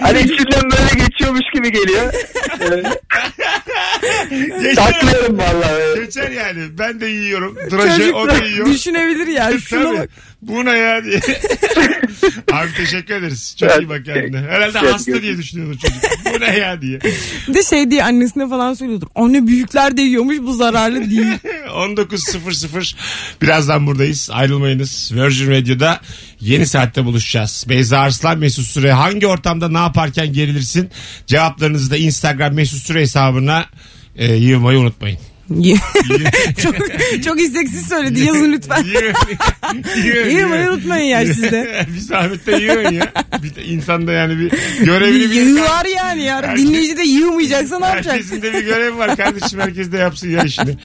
Speaker 9: hani içinden böyle geçiyormuş gibi geliyor.
Speaker 2: Geçer,
Speaker 9: Saklıyorum vallahi.
Speaker 2: geçer yani. Ben de yiyorum. Tıraşı şey, o da
Speaker 3: Çocuk
Speaker 2: yiyor. E,
Speaker 3: düşünebilir ya. Şuna
Speaker 2: Tabii.
Speaker 3: bak.
Speaker 2: Buna ya
Speaker 3: <laughs>
Speaker 2: diye. Abi teşekkür ederiz. Çok iyi bak kendine. Herhalde
Speaker 9: Evet,
Speaker 2: hasta diye düşünüyordu çocuk. Bu ne ya diye.
Speaker 3: Bir de şey diye annesine falan söylüyordur. Anne büyükler de yiyormuş bu
Speaker 2: <laughs>
Speaker 3: zararlı değil. <laughs>
Speaker 2: 19.00 birazdan buradayız. Ayrılmayınız. Virgin Radio'da yeni saatte buluşacağız. Beyza Arslan Mesut Süre hangi ortamda ne yaparken gerilirsin? Cevaplarınızı da Instagram Mesut Süre hesabına e, yığmayı <laughs> unutmayın.
Speaker 3: çok, çok isteksiz söyledi yazın lütfen.
Speaker 2: Yığın, yığın,
Speaker 3: Yığmayı
Speaker 2: yığın.
Speaker 3: unutmayın ya siz de.
Speaker 2: bir zahmet de yığın ya. Bir de insan da yani bir görevini bilir.
Speaker 3: Yığar yani ya.
Speaker 2: Herkes-
Speaker 3: Dinleyici de yığmayacaksa ne yapacak?
Speaker 2: Herkesin de bir görevi var kardeşim. Herkes de yapsın ya işini.